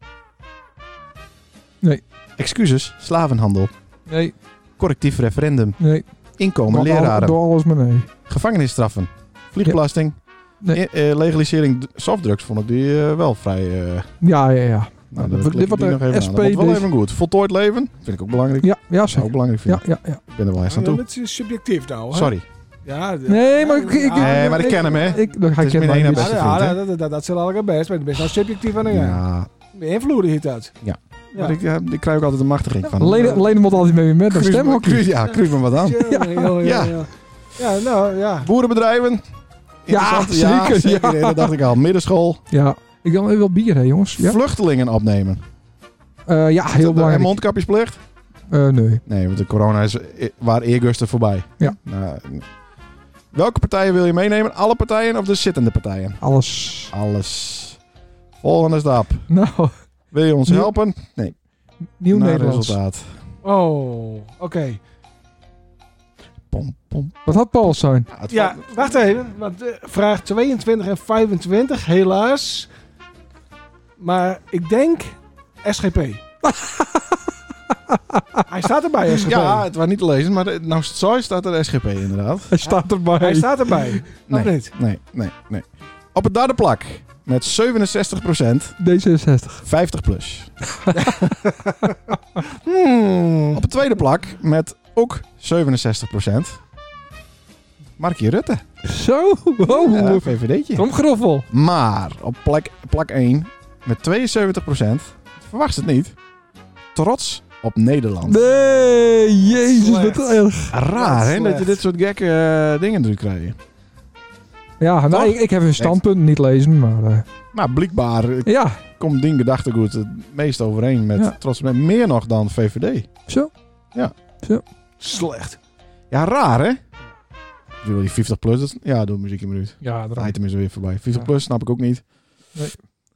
Nee. Excuses, slavenhandel. Nee. Correctief referendum. Nee. Inkomen, Door al- leraren. Door alles maar nee. Gevangenisstraffen. Vliegbelasting. Nee. I- eh, legalisering d- softdrugs vond ik die eh, wel vrij... eh, Ja, ja, ja. nou, dit dan klik ik wordt die een nog even aan. SP Dat moet wel deze- even goed. Voltooid leven. Vind ik ook belangrijk. dus- Ja, ja Zou ik zeker. belangrijk vinden. Ja, ja, ja. Ik ben er wel eens aan Ja, Ah, toe. dat is subjectief nou. Hè? Sorry. Ja, Nee, maar ik... ik, ik- Nee, maar ik ken hem, hè. Ik, dat ga Het ik is ken mijn maar ene niet. beste Ja, vindt, hè? dat, dat, dat, dat zal allemaal best, maar het is wel subjectief aan de gang. Ja, Beïnvloeden heet dat. Ja. Ja. maar ik, ja, ik krijg ook altijd een machtiging van. Lene Lene moet altijd mee met een Kruis- stemhokje. kruis- Ja, kruis me wat aan. Ja, ja, Ja. ja. Ja, nou ja. Boerenbedrijven. Interessant. zeker, ja. Nee, Dat dacht ik al. Middenschool. Ja. Ik wil even wel bier, hè, jongens. Ja, Vluchtelingen opnemen. Eh, ja heel En belangrijk. mondkapjesplicht? Eh, nee. Nee, want de corona is eh, waar eergusten voorbij. Ja. Nou, eh, welke partijen wil je meenemen? Alle partijen of de zittende partijen? Alles. Alles. Volgende stap. Nou, Wil je ons Ja. helpen? nieuw Naar Nederlands. Nou, resultaat. Oh, oké. Pom, pom. Wat had Paul zijn? Ja, het Ja, wacht even. Want eh, vraag 22 en 25, helaas. Maar ik denk SGP. Hij staat erbij, SGP. Ja, het was niet te lezen, maar de- nou zo staat er SGP inderdaad. Hij staat erbij. Hij staat erbij. Nee. Of niet? Nee, nee, nee. Op het derde plak met 67%, D66. 50 plus. Hmm. Op het tweede plak met ook 67%. Markie Rutte. Zo. Wow. Ja, VVD'tje. Omgeroffel. Maar op plak, plak 1 met 72%, verwacht het niet, trots op Nederland. Nee, jezus, wat Slecht. erg. Raar hè, dat je slecht. dit soort gekke eh, dingen doet krijgen. Ja, nou, Toch? ik, ik heb hun standpunt niet lezen, maar... eh, Maar blijkbaar eh, ja, komt dien gedachtegoed het meest overeen met Ja. trots op Nederland. Meer nog dan VVD. zo. Slecht. Ja, raar hè? Ik bedoel, Die 50 plus, dat, ja, doe muziek in minuut. Ja, Het item is er weer voorbij. 50 Ja. plus snap ik ook niet. Nee.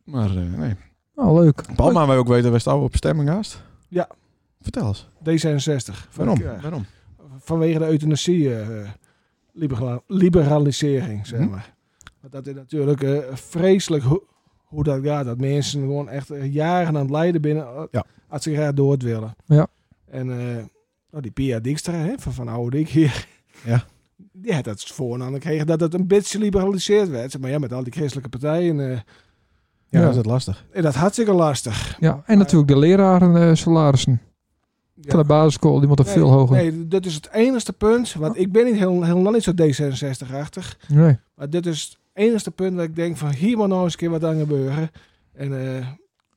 Maar eh, nee. Oh, leuk. Paul, maar wij ook weten, wij staan op stemming haast. Ja. Vertel eens. D66. Waarom? Ja, Waarom? vanwege de euthanasie eh, libera- liberalisering, zeg Mhm. maar. Want dat is natuurlijk eh, vreselijk hoe, hoe dat gaat. Dat mensen gewoon echt eh, jaren aan het lijden binnen eh, Ja. als ze graag door het willen. Ja. En eh, nou, die Pia Dijkstra hè, van Van Oude Dik hier. Ja. Die had dat voor aan gekregen dat het een beetje liberaliseerd werd. Zeg Maar ja, met al die christelijke partijen. eh, Ja, Ja. dat is het lastig. en dat hartstikke lastig. Ja, en natuurlijk de leraren eh, salarissen. Ja. Van de basisschool, die moeten Nee, veel hoger. Nee. Nee, dat is het enigste punt. Want ik ben niet heel, helemaal niet zo D66-achtig. Maar dit is het enige punt dat ik denk van hier moet nou eens een keer wat aan gebeuren. En eh,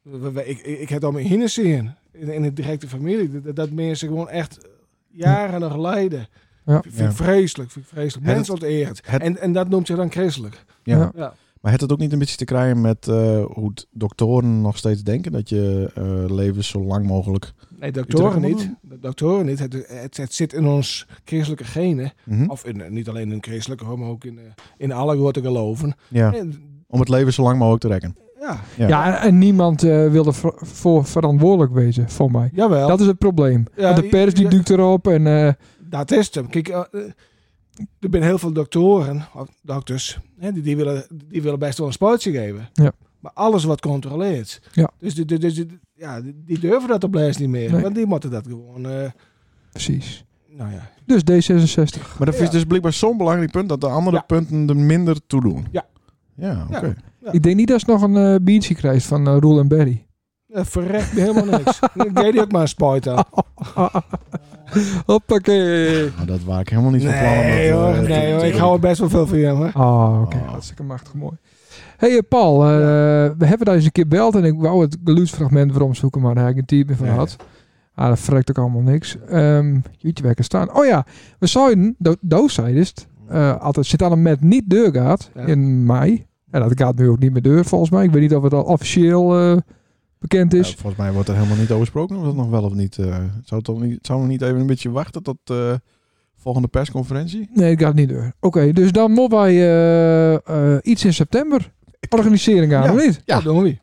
we- we- ik, ik, ik heb al mijn hinnen zien in, in de directe familie. Dat, dat mensen gewoon echt jaren nog lijden. Ja. Vind ik vreselijk, vind ik vreselijk. Het- Mensen onteerd. het- En, en dat noemt je dan christelijk. Ja. Ja. Ja. Maar het het ook niet een beetje te krijgen met eh, hoe het doktoren nog steeds denken dat je eh leven zo lang mogelijk. Nee, doktoren Utrecht moet niet. De Doktoren niet. Het, het, het zit in ons christelijke genen. Mhm. Of in, eh, niet alleen in christelijke, maar ook in, eh, in alle grote geloven. Ja. En- Om het leven zo lang mogelijk te rekken. ja, Ja. Ja, en, en niemand eh wil er voor, voor verantwoordelijk wezen, voor mij. jawel. Dat is het probleem. Ja, Want de i- pers die i- duikt erop en... eh, Dat is het hem. Kijk, eh, eh, er zijn heel veel doktoren, of dokters, hè, die, die, willen, die willen best wel een spuitje geven. Ja. Maar alles wordt controleerd. Ja. Dus, die, die- die- die- ja, die, die durven dat op lijst niet meer. Nee. Want die moeten dat gewoon, eh, precies. nou ja. Dus D66. Maar dat is Ja. dus blijkbaar zo'n belangrijk punt dat de andere Ja. punten er minder toe doen. Ja. Ja, oké. Ja. Ja. Ik denk niet dat ze nog een eh biertje krijgt van eh, Roel en Berry. Dat eh, verrekt me helemaal niks. Ik deed die ook maar een spuit Ah, aan. Hoppakee. Maar dat waar ik helemaal niet van plan. om dat, Nee eh, hoor, te- nee hoor. te- Ik hou er best wel veel van je, hoor. Oh, oké. Oh. Hartstikke machtig mooi. hey, eh, Paul. eh, We hebben daar eens een keer beld en ik wou het geluidsfragment weer opzoeken, maar daar heb ik een type meer van Nee. had. Ah, dat verrekt ook allemaal niks. Ehm Jutje wekker staan. Oh ja, we zouden, do- Doos zei dus, eh, altijd zit aan een met niet deur gaat Ja. in mei. En dat gaat nu ook niet meer deur volgens mij. Ik weet niet of het al officieel eh, bekend Ja, is. volgens mij wordt er helemaal niet over gesproken of dat nog wel of niet. eh, zou het toch niet, zou we niet even een beetje wachten tot eh volgende persconferentie? Nee, het gaat niet door. Oké, dus dan moeten wij eh, eh, iets in september organiseren gaan, Ja. of niet? Ja. Dat doen we.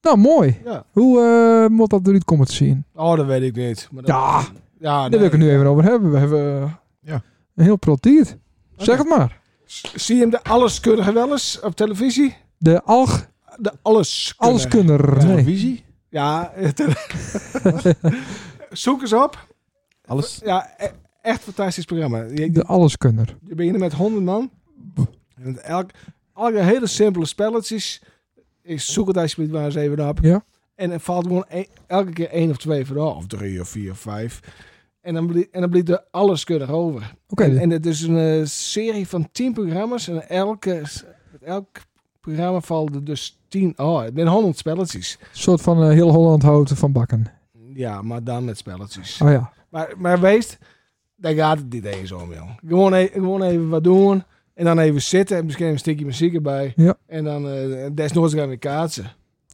Nou, mooi. Ja. Hoe eh, moet dat eruit komen te zien? Oh, dat weet ik niet. Maar dat, Ja, ja, daar nee. wil ik het nu even over hebben. We hebben eh, Ja. een heel protiert. Zeg Oké. het maar. S- Zie je hem de alleskundige wel eens op televisie? De alg De alleskundige. alleskunner. Nee. Televisie? Ja, eh, zoek eens op. Alles. Ja, e- echt fantastisch programma. Je, De alleskunner. je begint met 100 man. En elk, elke hele simpele spelletjes. Ik zoek het alsjeblieft maar eens even op. Ja. En er valt gewoon e- elke keer één of twee van, oh, of drie of vier of vijf. En dan bleef, en dan bleef er alles keurig over. Oké, En, en het is een eh, serie van 10 programma's. En elke, met elk programma valden dus 10. Oh, het zijn 100 spelletjes. een soort van eh, heel Holland houten van bakken. Ja, maar dan met spelletjes. Oh ja. Maar, maar wees, daar gaat het niet eens om, joh. Gewoon, e- gewoon even wat doen. En dan even zitten. En misschien een stukje muziek erbij. Ja. En dan eh desnoods gaan we kaatsen.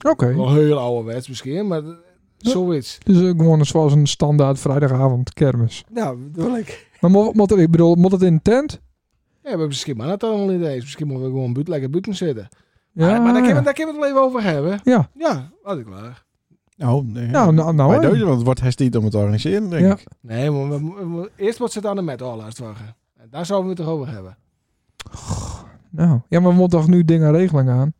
Oké. Wel heel ouderwets misschien, maar eh, zoiets. Dus eh, gewoon zoals een standaard vrijdagavond kermis. Nou, bedoel ik. Maar mo- moet, er, ik bedoel, moet het in een tent? Ja, maar misschien maar dat allemaal niet eens. Misschien moeten we gewoon buiten, lekker buiten zitten. Ja. Ah, maar maar daar kunnen we daar kunnen we het wel even over hebben. Ja. Ja, had ik klaar. Nou, nee. Nou, nou, nou. Wij hè. deuzen, want het wordt hest niet om het te organiseren, denk Ja. ik. Nee, maar we, we- we- eerst wordt het aan de met al wagen. En daar zouden we het toch over hebben. nou. Ja, maar we moeten toch nu dingen regeling aan?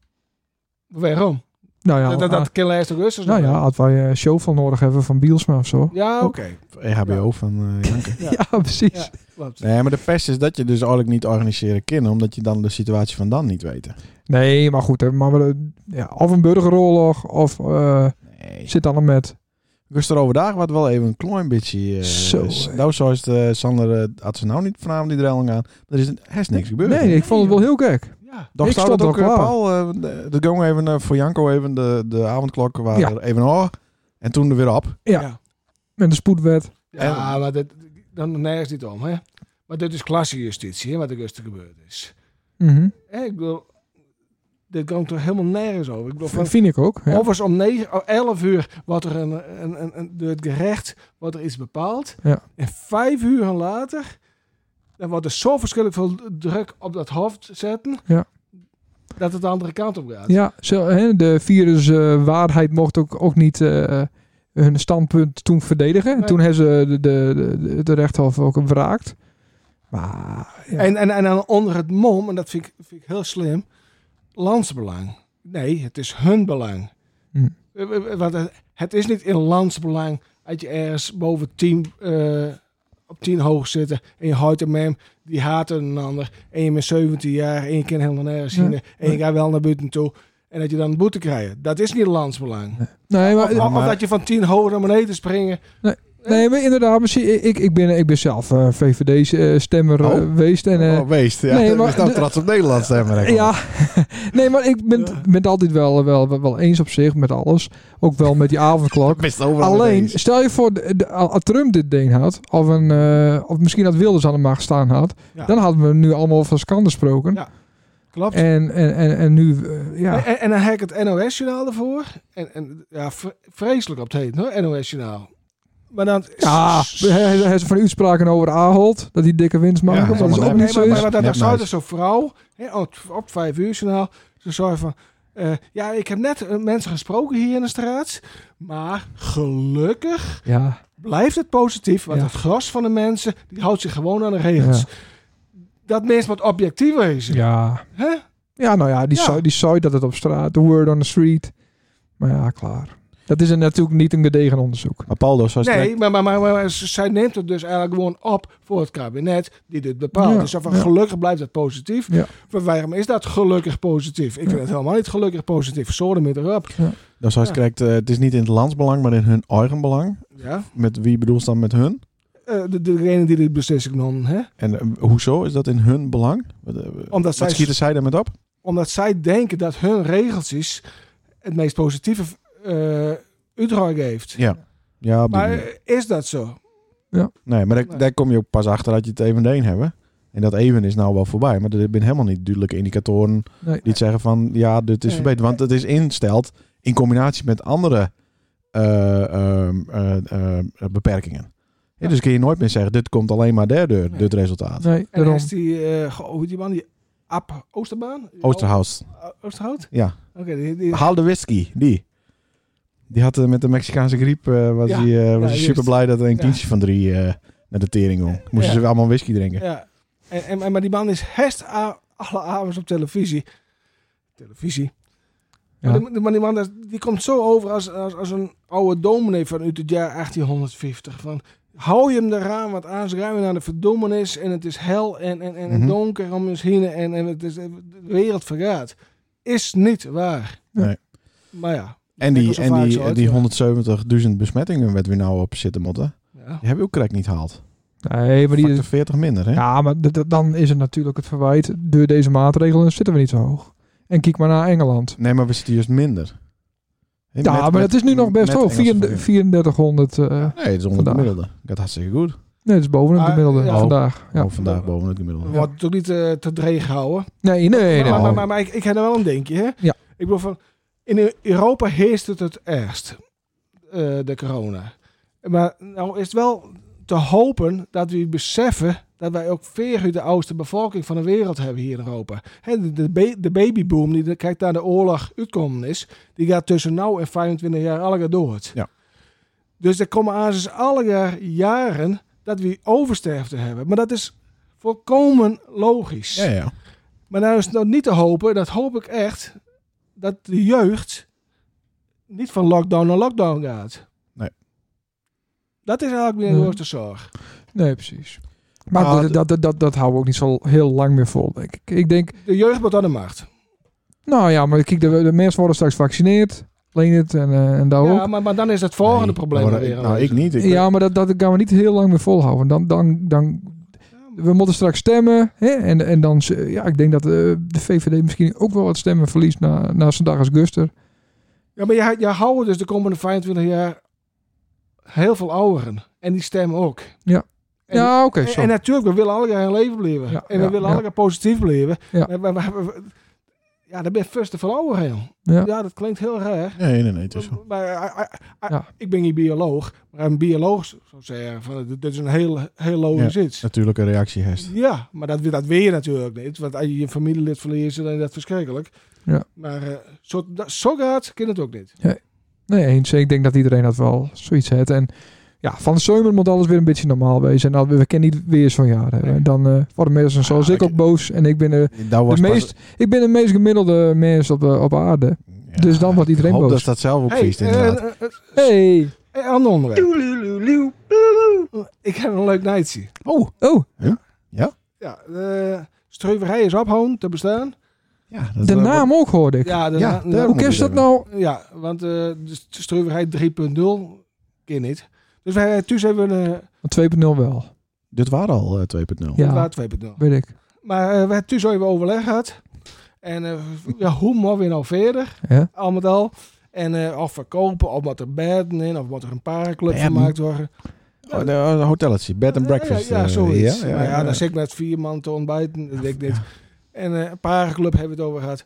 Waarom? Nou ja, dat dat, ah, dat kan eerst ook rustig nou nog ja wel. als wij eh, een show van nodig hebben van Bielsma of zo. Ja, oké. EHBO van eh, Janke. Ja. Ja, precies. Ja. Klopt. Nee, maar de pest is dat je dus eigenlijk niet organiseren kan, omdat je dan de situatie van dan niet weet. Nee, maar goed. Hè, maar we, ja, of een burgeroorlog of eh, Nee. zit dan een met. Dus er overdag wat wel even een klein beetje. eh Zo, is. hè. Nou, zoals de Sander, eh, had ze nou niet vanavond die drelling aan. Er is hest niks gebeurd. Nee, ik vond het wel heel gek. Ja. Doch ik zou stond dat ook al eh, klaar. Paul, eh, de- de gong even eh, voor Janko even de, de avondklok waar Ja. er even oh, en toen er weer op. Ja. Met de spoedwet. Ja, maar dat, dan nergens niet om, hè. Maar dit is klassejustitie, hè, wat er rustig gebeurd is. Mhm. Hè, ik bedoel, dit kan toch helemaal nergens over. Ik bedoel, van, Dat vind ik ook. Ja. Overigens om 9, oh, 11 uur wordt er een, een, een, een- door het gerecht wordt er iets bepaald. Ja. En vijf uur later, dan wordt er zo verschrikkelijk veel druk op dat hoofd zetten. Ja. Dat het de andere kant op gaat. Ja, zo, hè, de viruswaarheid mocht ook, ook niet eh, hun standpunt toen verdedigen. En Nee. Toen hebben ze de, de, de, de rechtshof ook wraakt. Maar ja, En, en, en dan onder het mom, en dat vind ik, vind ik heel slim, landsbelang. Nee, het is hun belang. Hm. Eh, eh, eh, Want het- het is niet in landsbelang dat je ergens boven tien, eh, op 10 hoog zitten en je houdt een mem, die haat een ander en je bent 17 jaar en je kan helemaal nergens Ja. zien en je gaat wel naar buiten toe en dat je dan een boete krijgt. Dat is niet landsbelang. nee, Of, maar, of dat je van 10 hoog naar beneden springen. nee, maar inderdaad, misschien, ik, ik, ben, ik ben zelf eh, VVD-stemmer Oh. geweest. En, eh, oh, weest. Ja, nee, nee, maar maar, nou de- trots op Nederland zijn maar even. Ja, nee, maar ik ben, Ja. ben het altijd wel, wel, wel, wel eens op zich met alles. Ook wel met die avondklok. Best overal Alleen, ineens. stel je voor, de, de- als Trump dit ding had, of, een, eh, of misschien dat Wilders aan de macht staan had, Ja. dan hadden we nu allemaal van skande gesproken. Ja. Klopt. En, en, en, en nu, eh, ja. En, en dan heb ik het NOS-journaal ervoor. En, en ja, vre- vreselijk op het heet, hoor, NOS-journaal. Maar dan... Ja, S- hij hij- hij is van uitspraken over Ahold, dat hij dikke winst maakt. Ja, dat dat is is ook allemaal Nee, niet nep. zo. maar, is. maar, maar Nep dan zou meisje. er zo'n vrouw hè, op, op vijf uur journaal... Ze zei van... eh, ja, ik heb net eh, mensen gesproken hier in de straat. Maar gelukkig Ja, blijft het positief. Want Ja. het gros van de mensen... die houdt zich gewoon aan de regels. Ja. Dat mensen wat objectiever is. ja. Hè? Ja, nou ja, die Ja. zou die zou dat het op straat, the word on the street. Maar ja, klaar. Dat is een- natuurlijk niet een gedegen onderzoek. Maar Paul, dus, zoals het Nee, maar, maar, maar, maar ze- zij neemt het dus eigenlijk gewoon op voor het kabinet die dit bepaalt. Ja, dus van ja. gelukkig blijft het positief. Ja. Maar waarom is dat gelukkig positief? Ik vind het helemaal niet gelukkig positief. Zorgen met erop. dus als je kijkt, eh, het is niet in het landsbelang, maar in hun eigen belang. Ja. Met wie bedoel je dan met hun? Eh, de, degene die dit beslissing nam, hè? En eh, hoezo is dat in hun belang? Wat, eh, Omdat, wat zij, schieten zij daarmee op? omdat zij denken dat hun regeltjes het meest positieve eh uitdraai heeft. Ja. Ja, op die Maar manier. eh, is dat zo? Nee, maar daar, Nee. daar kom je ook pas achter dat je het even één hebben. En dat even is nou wel voorbij. Maar er zijn helemaal niet duidelijke indicatoren Nee. die het zeggen van ja, dit is Nee. verbeterd. Want het is ingesteld in combinatie met andere eh, ehm, eh, ehm, eh, beperkingen. Ja, dus kun je nooit meer zeggen, dit komt alleen maar derde, Nee. dit resultaat. Nee, En daarom. is die, eh, goh, hoe die man, die Ab Oosterbaan? Oosterhaus, O- Oosterhout? ja. Oké, die, die, Haal de whisky, die. Die had eh, met de Mexicaanse griep, eh, was Ja, hij eh, was ja, juist. super blij dat er een Ja. kindje van drie eh, naar de tering ging. Moesten Ja. ze allemaal whisky drinken. Ja. En, en, maar die man is hest a- alle avonds op televisie. Televisie. Ja. Maar, die, maar die man dat- die komt zo over als, als, als een oude dominee van uit het jaar 1850. Van, hou je hem eraan, want anders gaan we naar de verdoemenis. En het is hel en, en, en Mhm. donker om ons heen. En, en het is, de wereld vergaat. Is niet waar. Nee. Maar ja. En Ik die, was al en vaak die, zo en die uit, 170.000 besmettingen werd weer nou op zitten motten. Ja. Ja. Die heb je ook correct niet gehaald. Nee, maar die Factor is, 40 minder, hè? ja, maar d- d- dan is het natuurlijk het verwijt. Door deze maatregelen zitten we niet zo hoog. En kijk maar naar Engeland. Nee, maar we zitten juist minder. Hè, Ja, met- maar met- het is nu nog best met hoog. Engelse 34- vergelijking. 3400. eh, Nee, het is onder vandaag. het gemiddelde. Gaat hartstikke goed. nee, dat is boven het Maar, eh, gemiddelde ja. vandaag. Ja. Oh, vandaag boven het gemiddelde. Wordt natuurlijk niet eh, te dreig gehouden. Nee, nee, nee. maar, nou. maar, maar, maar ik, ik heb er wel een denkje. Hè? Ja. Ik bedoel van, in Europa heerst het het ergst, eh, de corona. Maar nou is het wel te hopen dat we beseffen dat wij ook veer de oudste bevolking van de wereld hebben hier in Europa. Hè, de, de, ba- de babyboom die de- kijk naar de oorlog uitkomen is, die gaat tussen nou en 25 jaar alle jaar dood. Ja. Dus er komen aan zes alle jaar jaren dat we oversterfte hebben. Maar dat is volkomen logisch. Ja, ja. Maar nou is het nou niet te hopen, dat hoop ik echt, dat de jeugd niet van lockdown naar lockdown gaat. Nee. Dat is eigenlijk meer de Nee. grootste zorg. Nee, precies. Maar Ah, dat, dat, dat, dat, dat houden we ook niet zo heel lang meer vol, denk ik. Ik denk, De jeugd wordt aan de macht. nou ja, maar kijk, de, de mensen worden straks gevaccineerd. Alleen het en, eh, en daar Ja, ook. maar, maar dan is het volgende Nee, probleem maar, weer ik- Nou, aanwezig. ik niet. Ik ja, maar dat, dat gaan we niet heel lang meer volhouden. Dan, dan, dan, we moeten straks stemmen. Hè? En, en dan, z- ja, ik denk dat eh, de VVD misschien ook wel wat stemmen verliest na, na zijn dag als Guster. Ja, maar je, je houdt dus de komende 25 jaar heel veel ouderen. En die stemmen ook. En- Ja, oké, En, zo. en natuurlijk, we willen allemaal in leven blijven. Ja, en we ja, willen ja. allemaal positief blijven. Ja. Maar- maar- maar- maar- ja, dan ben je first van ouderen. joh. Ja. Ja. dat klinkt heel raar. Nee, nee, nee. Het is zo. Maar, eh, eh, eh, Ja. Ik ben niet bioloog, maar een bioloog zou zeggen, van, dit dit is een heel, heel logisch iets. Natuurlijk een reactie heeft. Ja, maar dat, dat weet je natuurlijk niet. Want als je je familielid verliest, dan is dat verschrikkelijk. Ja. Maar eh, zo, dat, zo gaat, kan het ook niet. Nee, eens. Ik denk dat iedereen dat wel zoiets heeft. En ja, van de zomer moet alles weer een beetje normaal wezen. En dat we, we kennen niet weer zo'n jaar hebben. Nee. Dan eh worden mensen zoals Ah, ik ik- ook boos. En ik ben eh, de, Dat was de pas- meest, ik ben de meest gemiddelde mens op, eh, op aarde. Ja, dus dan wordt iedereen ik hoop boos. dat dat zelf ook Hey, vies inderdaad. eh, eh, Hey. eh, ander onderwerp. Ik heb een leuk nightje. oh, Oh, Ja, de streuverij is ophouden te bestaan. ja, dat de wordt- naam ook hoorde ik. Ja, de Ja, na- daarom. Hoe kerst dat hebben. nou? Ja, want eh, de streuverij 3.0 ken niet. Dus wij eh, thuis hebben een eh, 2.0 wel. Dit waren al eh, 2.0. Ja. waar 2.0. Weet ik. Maar eh, we hebben thuis al even overleg gehad. En eh, ja, hoe moeten we nou verder, Ja. al met al? En eh, of verkopen, of moet er bedden in, of moet er een parenclub Bedden? gemaakt worden. Oh, de- een hotelletje, bed and breakfast. Ja, ja, eh, zoiets. Ja, Maar ja, ja, ja. dan zit ik met vier man te ontbijten, dat weet ik niet. En eh een parenclub hebben we het over gehad.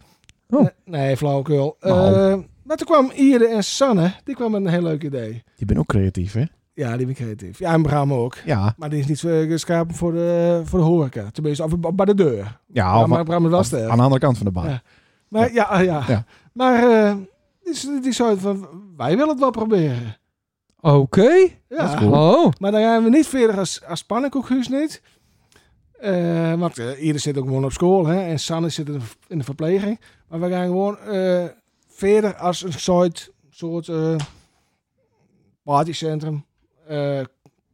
Oh. Nee, Nee, flauwekul. Eh, Nou. maar toen kwam Ire en Sanne, die kwam met een heel leuk idee. Je bent ook creatief, hè? Ja, die ben ik creatief. Ja, en Bram ook. Ja. Maar die is niet eh, geschapen voor de, voor de horeca. Tenminste, of bij de deur. Ja, Ja, of- maar Bram is wel of sterk. Nou, aan de andere kant van de baan. Ja. Maar ja, ah, ja. Ja. Maar eh, die, die zei van, wij willen het wel proberen. Oké. Ja. Dat is cool. Oh. Maar dan gaan we niet verder als, als pannenkoekhuis niet. Eh, want eh, ieder zit ook gewoon op school. Hè? En Sanne zit in de, in de verpleging. Maar we gaan gewoon eh, verder als een soort, soort eh, partycentrum. eh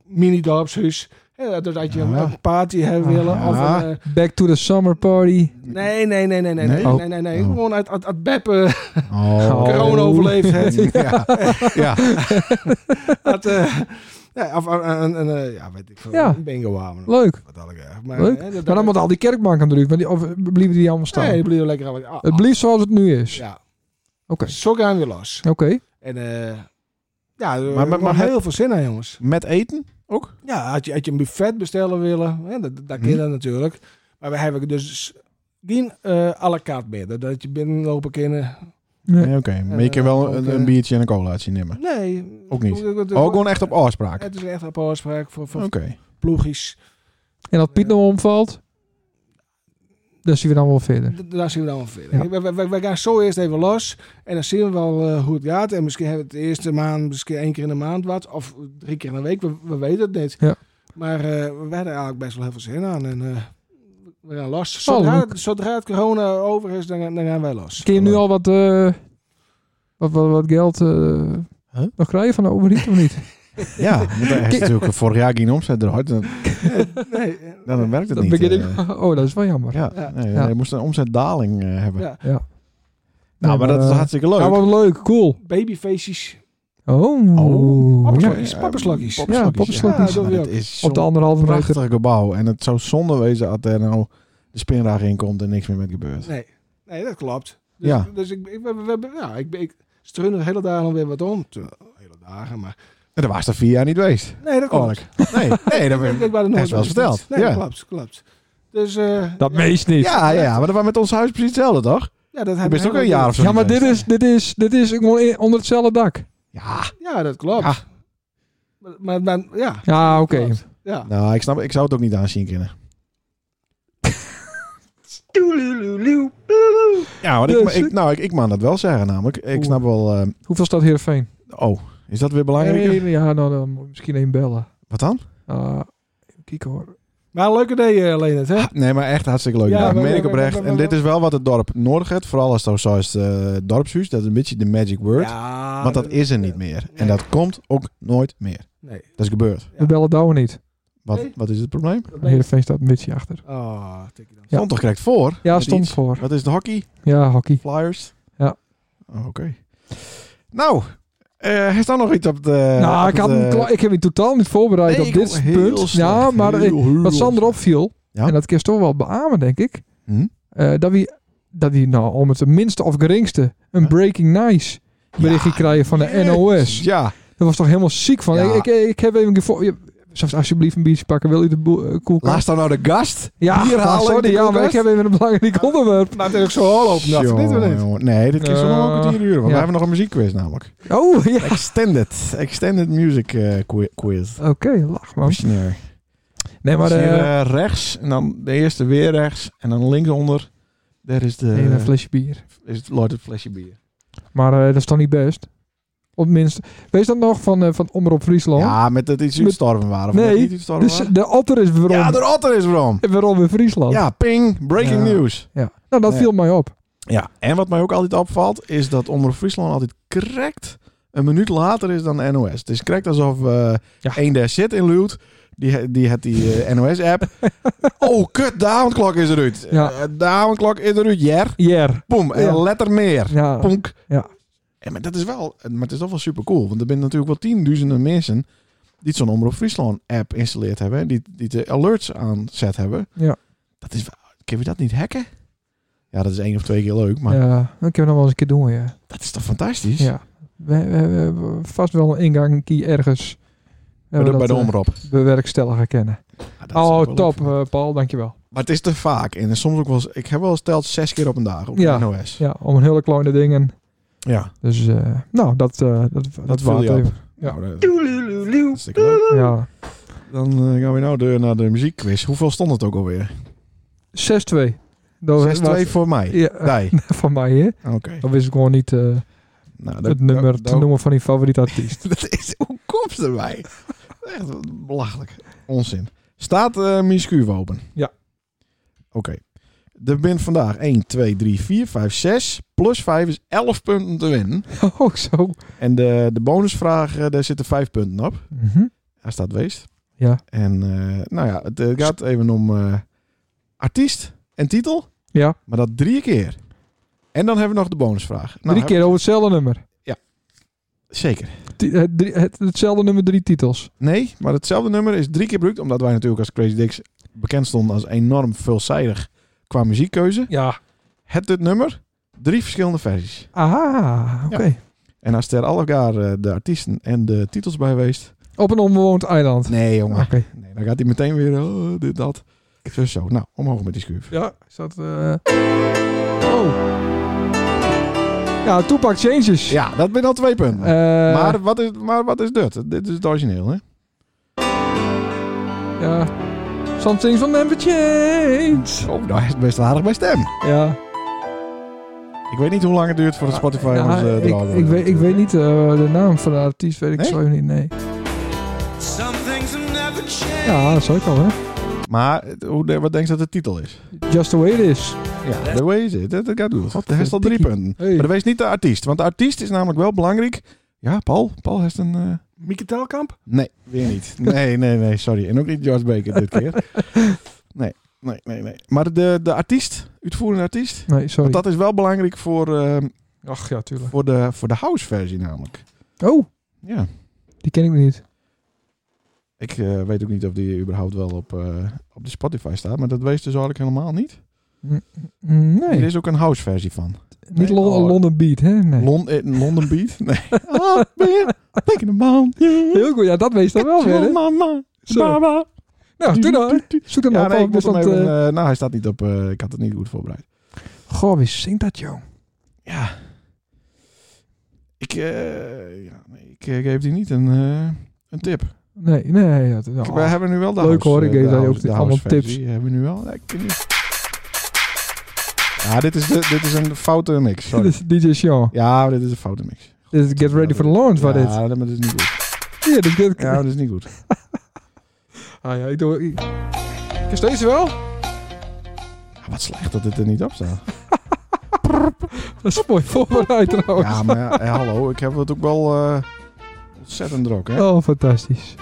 Mini-dorpshuis. Hè, dus dat je een- Ja. een party hebben Ah, willen. Of ja. een, eh, Back to the summer party. nee, nee, nee, nee, nee, Nee? nee, Oh. nee, nee, nee. Oh. Gewoon uit, uit, uit beppen. Oh. Corona overleefd heeft. ja. ja. Dat, eh, ja, of een, een, een, eh, ja, weet ik veel, Ja. een bingo houden. Leuk. Wat had ik eigenlijk. Maar, Leuk. eh, dat- Maar dan moet al die kerkbanken eruit. Want die, of blijven die allemaal staan? Nee, die bleef lekker aan. Het blijft zoals het nu is. Ja. Oké. Zo gaan we los. Oké. En eh ja, we maar- hebben maar heel veel zin aan, jongens. Met eten? Ja, had je, had je een buffet bestellen willen, hè, dat, dat Hm. kan dat natuurlijk. Maar we hebben dus geen eh à la carte meer. Dat- Dat je binnenlopen kan. Ja. Nee, oké. Maar je Eh, kan wel een, ook, eh, een biertje en een colaatje nemen. Nee. Ook niet. Het, Oh, gewoon echt op afspraak. het is echt een afspraak voor, voor Oké. ploegjes. En als Piet nou omvalt, dan zien we dan wel verder. D- Daar zien we dan wel verder. Ja. We, we- we- we gaan zo eerst even los. En dan zien we wel eh, hoe het gaat. En misschien hebben we het de eerste maand, misschien één keer in de maand wat. Of drie keer in de week. We, we weten het niet. Ja. Maar eh, we hebben er eigenlijk best wel heel veel zin aan. En eh, we gaan los. Oh, Zodra, leuk. het- zodra het corona over is, dan, gaan- dan gaan wij los. Kun je nu al wat, eh, wat, wat, wat geld eh, Huh? nog krijgen van de overheid of niet? Ja, want hij heeft natuurlijk vorig jaar geen omzet eruit. Dan, Nee, eh, dan werkt het Dan niet. begin ik, eh. oh, dat is wel jammer. Ja, Ja. nee, Ja. je moest een omzetdaling eh, hebben. Ja. Ja. Nou, Nee, maar, dat is eh, hartstikke leuk. Ja, wat leuk, cool. babyfaces. Oh, Oh, ja. Papperslakjes. Ja, papperslakjes. eh, Ja, papperslakjes. Ja, Ja, maar dat het wil ik. is zo'n op de anderhalve meter. prachtig gebouw. En het zou zonde wezen als er nou de spinraag in komt en niks meer met gebeurt. Nee. nee, dat klopt. Dus, Ja. dus ik, ik, we, we- we- ja, ik, ik struin er hele dagen alweer wat om. Te- Hele dagen, maar... En dat was er vier jaar niet geweest. Nee, dat klopt. Eerlijk. Nee, nee, dat Ik, ik ben er Dat nooit is wel eens verteld, Nee, ja. dat klopt, klopt. Dus... eh, Dat ja, meest niet. Ja, ja, ja, maar dat was met ons huis precies hetzelfde, toch? Ja, dat Je hebben bent we ook een helemaal jaar of zo. Ja, maar niet dit geweest. is, dit is, dit is gewoon in- onder hetzelfde dak. Ja, niet. Ja, dat klopt. Ja. Maar, maar, maar- ja, Ja, oké. klopt. Ja. nou, ik snap, ik zou het ook niet aanzien kunnen. Ja, want Dus- ik, ik, nou, ik, ik mag dat wel zeggen namelijk. Ik Oeh. snap wel... eh, Hoeveel staat Heerenveen? oh, is dat weer belangrijk? Eh, ja, nou dan moet ik misschien één bellen. Wat dan? Eh kijk hoor. Maar een leuke day, eh Leonard, hè? Ah, Nee, maar echt hartstikke leuk. Ja, Ja, maar- meen ik maar- oprecht. maar- En dit is wel wat het dorp nodig heeft. Vooral als het zo is eh dorpshuis. Dat is een beetje de magic word. Ja, want dat is er niet meer. En dat komt ook nooit meer. Nee. Dat is gebeurd. Ja. We bellen Douwe niet. Wat, Nee. wat is het probleem? Heerenveen staat een beetje achter. Oh, tikkie dan. Ja. Stond toch correct voor? Ja, Met stond iets. voor. Wat is het hockey? Ja, hockey. Flyers? Ja. Oh, Oké. Nou, eh is daar nog iets op de... nou, op ik, had het, hem eh, kla- ik heb hem totaal niet voorbereid nee, op ik dit ook heel punt. slecht, ja, maar heel, heel wat Sander slecht. opviel, Ja. en dat kun je toch wel beamen, denk ik, Hm? eh, dat we dat we nou om het minste of geringste een Ja. breaking nice berichtje krijgen van de NOS. Ja. Dat was toch helemaal ziek van. Ja. Ik, ik, ik heb even gevo- je- Zelfs alsjeblieft een biertje pakken. Wil u de boel- eh, koelkast? Laat dan nou de gast. ja, bier maar halen uit sorry, de ja, maar ik koelkast? heb even een belangrijk onderwerp. Maar het is ook zo hol open, dat Jongen, dit wel niet. jongen. Nee, dit is nog wel een Eh, kwartier uur. Want ja. we hebben nog een muziekquiz namelijk. Oh ja. Extended. Extended Music eh, qui- Quiz. Oké, lach man. Questionnaire. Nee, maar Zie je, eh eh, rechts en dan de eerste weer rechts en dan linksonder. Daar is, de, nee, een flesje bier. is het Lord het flesje bier. Maar eh, dat is toch niet best? Op het minst. Wees dat nog van, eh, van Omroep Friesland? Ja, met dat iets Met- uitstorven waren. Of Nee, dat niet uitstorven Dus waren? de otter is weer om, Ja, de otter is erom. weer om in Friesland. Ja, ping. Breaking Ja. news. Ja. Nou, dat Ja. viel mij op. Ja, en wat mij ook altijd opvalt is dat Omroep Friesland altijd correct een minuut later is dan de NOS. Het is correct alsof eh Ja. één daar zit in Luwt, die, die had die eh, NOS-app. oh, kut, de avondklok is eruit. Ja. Eh, de avondklok is eruit, jer. Jer. Boom, Ja. en letter meer. Ja. Ponk. Ja. En, maar dat is wel, maar het is toch wel super cool, want er zijn natuurlijk wel tienduizenden mensen die zo'n Omroep Friesland-app installeerd hebben, hè, die, die de alerts aanzet hebben. Ja. Dat is wel, kunnen we dat niet hacken? Ja, dat is één of twee keer leuk, maar... Ja, dat kunnen we nog wel eens een keer doen, ja. Dat is toch fantastisch? ja. We, we, we hebben vast wel een ingang die ergens... Bij hebben de, bij we de dat, eh, omroep. bewerkstelligen kennen. Ja, Ah, dat zou ik wel Oh, top, leuk vinden. eh, Paul, dankjewel. Maar het is te vaak. En soms ook wel eens, ik heb wel eens telt zes keer op een dag op Ja. de NOS. Ja. Ja, om een hele kleine dingen. Dus, eh, nou, dat, eh, dat, dat, viel waard je op. even. Ja. Nou, dat- hartstikke leuk. Ja. Dan eh, gaan we nou de, naar de muziekquiz. Hoeveel stond het ook alweer? 6-2. Dat 6-2 voor mij. Oh, Ja, eh, Nee. van mij, hè? Oké. Dan wist ik gewoon niet eh, Nou, dat- het nummer dat- te noemen van die favoriete artiest. Dat is hoe komt het erbij? Echt wat belachelijk. Onzin. Staat eh mijn schuur open? Ja. Oké. Er bent vandaag 1, 2, 3, 4, 5, 6. Plus 5 is 11 punten te winnen. oh, zo. En de, de bonusvraag, eh, daar zitten vijf punten op. Mhm. Als dat weest. Ja. En eh, nou ja, het eh, gaat even om eh, artiest en titel. Ja, Maar dat drie keer. En dan hebben we nog de bonusvraag. Nou, drie keer over hetzelfde nummer. heb- Zeker. Ti- het, drie- het- hetzelfde nummer, drie titels. Nee, maar hetzelfde nummer is drie keer gebruikt. Omdat wij natuurlijk als Crazy Dicks bekend stonden als enorm veelzijdig qua muziekkeuze. Ja. Het dit nummer, drie verschillende versies. Ah, oké. En als er al elkaar eh, de artiesten en de titels bij geweest. Op een onbewoond eiland. Nee, jongen. Oké. Nee, dan gaat hij meteen weer oh, dit, dat. Zo, zo. Nou, omhoog met die schuif. Ja, is dat... eh, Oh. Ja, Toepak Changes. Ja, dat ben al twee punten. Eh, maar, wat is, maar wat is dit? Dit is het origineel, hè? Ja. Some things will never change. Oh, daar is het best aardig bij stem. Ja. Ik weet niet hoe lang het duurt voordat Spotify Ja, ons eh, ik, draaien wil. ik, weet, ik weet niet eh, de naam van de artiest, weet ik Nee? zo even niet. Nee. Ja, dat zou ik al, hè. Maar het- hoe, de- wat denk je dat de titel is? Just the way it is. Ja, the way is it. Dat dat gaat doen. Hij heeft al drie Verdikkie. punten. Hey. Maar dat wees niet de artiest. Want de artiest is namelijk wel belangrijk. Ja, Paul. Paul heeft een... eh, Mieke Telkamp? Nee, weer niet. Nee, nee, nee, sorry. En ook niet George Baker dit keer. Nee, nee, nee, nee. Maar de, de artiest, uitvoerende artiest... Nee, sorry. Want dat is wel belangrijk voor, eh, Ach ja, tuurlijk. voor, de, voor de house versie namelijk. Oh, Ja. Die ken ik niet. Ik eh, weet ook niet of die überhaupt wel op, eh, op de Spotify staat, maar dat wees dus eigenlijk helemaal niet. Mm, Er Nee, is ook een house versie van. niet Lon- oh. London Beat, hè? Nee. Oh, Lon- eh, London Beat? Nee. Ah, beer, taking a man. Heel goed, ja, dat weet je dan wel weer, hè? Mama, Zo. baba. Nou, doe dan. Zoek dan Ja, op. nee, ik want moest hem dat, even, eh, eh, nou, hij staat niet op. eh, ik had het niet goed voorbereid. Goh, wie zingt dat, joh? Ja. Ik, eh, ja, nee, ik eh, geef die niet een, eh, een tip. Nee, nee. Dat, nou, We hebben nu wel de Leuk house, hoor, eh, ik geef de daar ook house- de allemaal house tips. versie Hebben we nu wel? Nee, ik weet niet. Ja, dit is, de, dit is een foute mix. dit Sorry. is DJ Sean. Ja, dit is een foute mix. Dit is Get Ready for the Lawrence, waar dit. Ja, dat- maar dit is niet goed. Ja, dit dit- Ja, dat is niet goed. Ah ja, ik doe... Ik... Is deze wel? Ah, wat slecht dat dit er niet op staat. Dat is mooi voorbereid trouwens. Ja, maar ja, eh, hallo, ik heb het ook wel eh, ontzettend druk, hè? Oh, fantastisch.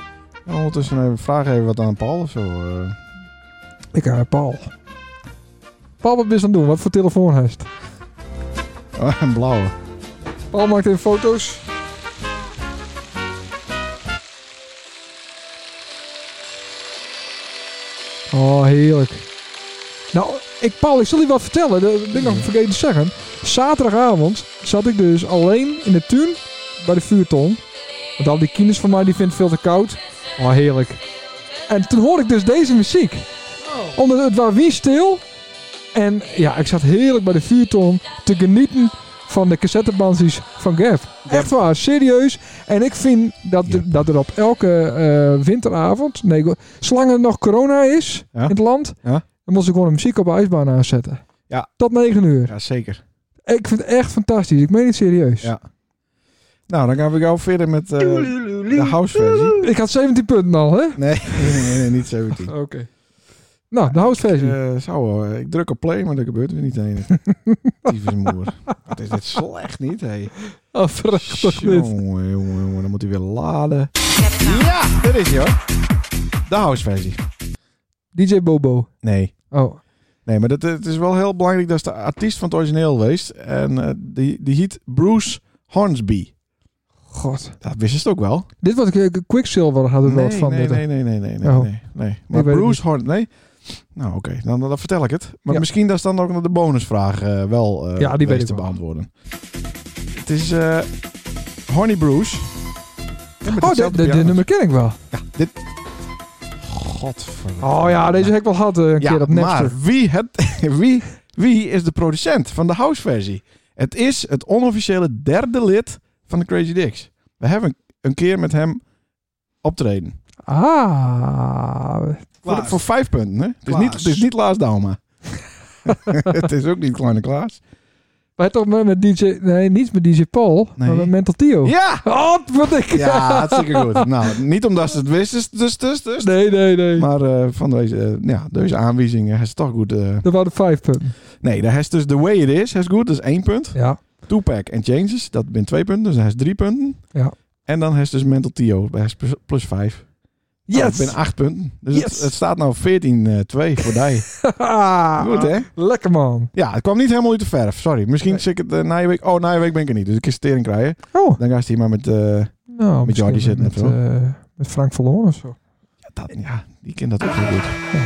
Ja, Ondertussen even vragen even wat aan Paul of zo. eh. Ik heb Paul. Paul, wat ben je aan het doen? Wat voor telefoon heeft? Oh, een blauwe. Paul maakt even foto's. Oh, heerlijk. Nou, ik, Paul, ik zal je wat vertellen. Dat ben ik nog vergeten te zeggen. Zaterdagavond zat ik dus alleen in de tuin bij de vuurton. Want al die kinders van mij die vinden het veel te koud. Oh, heerlijk. En toen hoorde ik dus deze muziek. Omdat het was wie stil. En ja, ik zat heerlijk bij de vuurton te genieten van de cassettebandjes van Gap. Echt waar, serieus. En ik vind dat, de- dat er op elke eh, winteravond, nee, go- zolang er nog corona is Ja. in het land, Ja. dan moest ik gewoon de muziek op de ijsbaan aanzetten. Ja. Tot 9 uur. Ja, zeker. Ik vind het echt fantastisch. Ik meen het serieus. Ja. Nou, dan gaan we gauw verder met eh, de house versie. Ik had 17 punten al, hè? Nee, nee, nee, nee, niet 17. Oké. Nou, de house versie. Eh, zou, eh, ik druk op play, maar dat gebeurt weer niet heen. Tyfusmoer. Wat is dit slecht niet, hé. oh, verrekt toch niet. Jongen, jongen, jongen, dan moet hij weer laden. Ja, dat is hij hoor. De house versie. DJ Bobo. Nee. Oh, Nee, maar dat, eh, het is wel heel belangrijk dat is de artiest van het origineel geweest. En eh, die, die heet Bruce Hornsby. god. Dat wist je het ook wel. Dit was eh, Quicksilver had het wel wat nee, van. nee, dit. nee, nee, nee, nee, nee, Oh. nee, nee. Maar weet het Bruce Horn, nee. Nou, oké, dan, dan vertel ik het. Maar Ja. misschien dat is dan ook nog de bonusvraag eh, wel eh, Ja, die weet wees ik te wel. beantwoorden. Het is eh Horny Bruce. Ja, met Oh, dit hetzelfde dit- dit piano. nummer ken ik wel. Godverdomme. Oh ja, deze heb ik wel gehad eh, een Ja, keer op Napster. maar wie, het, wie, wie is de producent van de houseversie? Het is het onofficiële derde lid van de Crazy Dicks. We hebben een keer met hem optreden. Ah, Voor, Klaas. voor vijf punten, hè? Het is, Klaas. niet, het is niet Klaas Dauma. het is ook niet Kleine Klaas. wij toch met, met DJ... Nee, niet met DJ Paul, maar Nee. met Mental Tio. Ja! Oh, wat ik... Ja, hartstikke goed. Nou, niet omdat ze het wisten, dus, dus, dus. Nee, nee, nee. Maar eh, van deze, eh, ja, deze aanwijzingen hij is toch goed. eh. Dat waren vijf punten. Nee, daar is dus The Way It Is, hij is goed, dat is één punt. Ja. Tupac en Changes, dat zijn twee punten, dus hij is drie punten. Ja. En dan heeft dus Mental Tio, hij is plus- plus vijf. Nou, Yes! ik ben acht punten. Dus Yes. het, het staat nou 14-2 voor die. Ah. Goed, hè? Lekker man. Ja, het kwam niet helemaal uit de verf, sorry. Misschien Nee. zit ik het eh, na je week... Oh, na je week ben ik er niet, dus ik kan stering krijgen. Oh. Dan ga je hier maar met... eh, Nou, Met misschien Jordi zitten met, of zo. eh, met Frank Verloren of zo. dat, ja, die kent dat ook heel goed.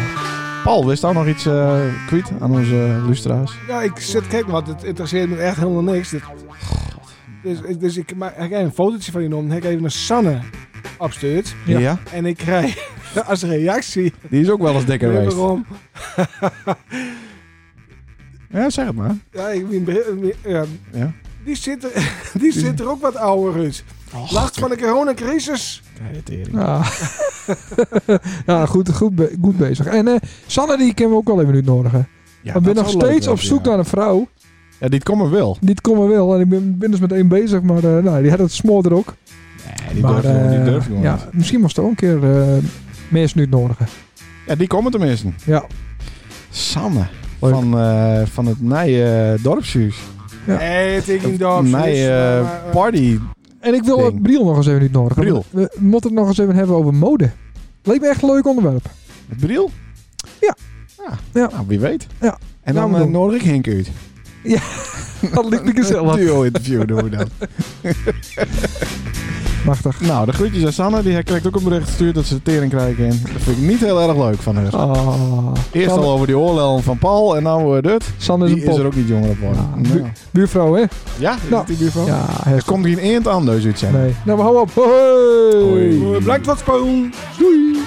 Paul, wist daar nog iets eh kwijt aan onze eh, luisteraars? Ja, ik zit, kijk, want het interesseert me echt helemaal niks. Dit- dus, ik- dus ik maak ik heb een fotootje van die nom, heb ik even een Sanne opstuurd. Ja. En ik krijg als reactie Die is ook wel eens dikker geweest. wederom... Ja, zeg het maar. Ja, ik, mijn bril- mijn- ja, Ja. die, zit er, die zit er ook wat ouder uit. Last van de coronacrisis. Kijk, de tering. Ja, Ah. ja goed, goed, be- goed bezig. En eh, Sanne, die kunnen we ook wel even uitnodigen. Ja, ik dat ben nog zou leuk steeds zijn, op zoek ja. naar een vrouw. Ja, dit komen wel. Dit komen wel. En ik ben, ben dus met één bezig. Maar eh, nou, die had het smoor er ook. Nee, die maar, durf gewoon, die eh, durf gewoon ja, niet. Misschien was er ook een keer eh mensen nu nodigen. Ja, die komen tenminste. Ja. Sanne Leuk. van, eh, van het Nije eh, Dorpshuis. Ja. Nee, het ik niet door. Nije eh, eh, eh, Party. En ik wil Ding. ook Briel nog eens even uitnodigen. Briel. We, we moeten het nog eens even hebben over mode. Leek me echt een leuk onderwerp. Bril? Ja. ja. Ja. Nou, wie weet. Ja. En Gaan dan we eh, doen. nodig ik Henk uit. Dat lijkt me Een gezellig. duo interview doen we dan. Machtig. Nou, de groetjes aan Sanne. Die krijgt ook een bericht gestuurd dat ze de tering krijgen. En dat vind ik niet heel erg leuk van haar. Ah. Eerst Sanne- al over die oorlel van Paul en nou wordt dit. Sanne is Die een is pop. er ook niet jonger op worden. Ah, Nou. bu- buurvrouw, hè? Ja, is Nou. het die buurvrouw? Ja, Er komt geen eend aan, dus iets zijn. nee. Nou, maar hou op. Hoi. Hoi. Blijkt wat spoon. Doei.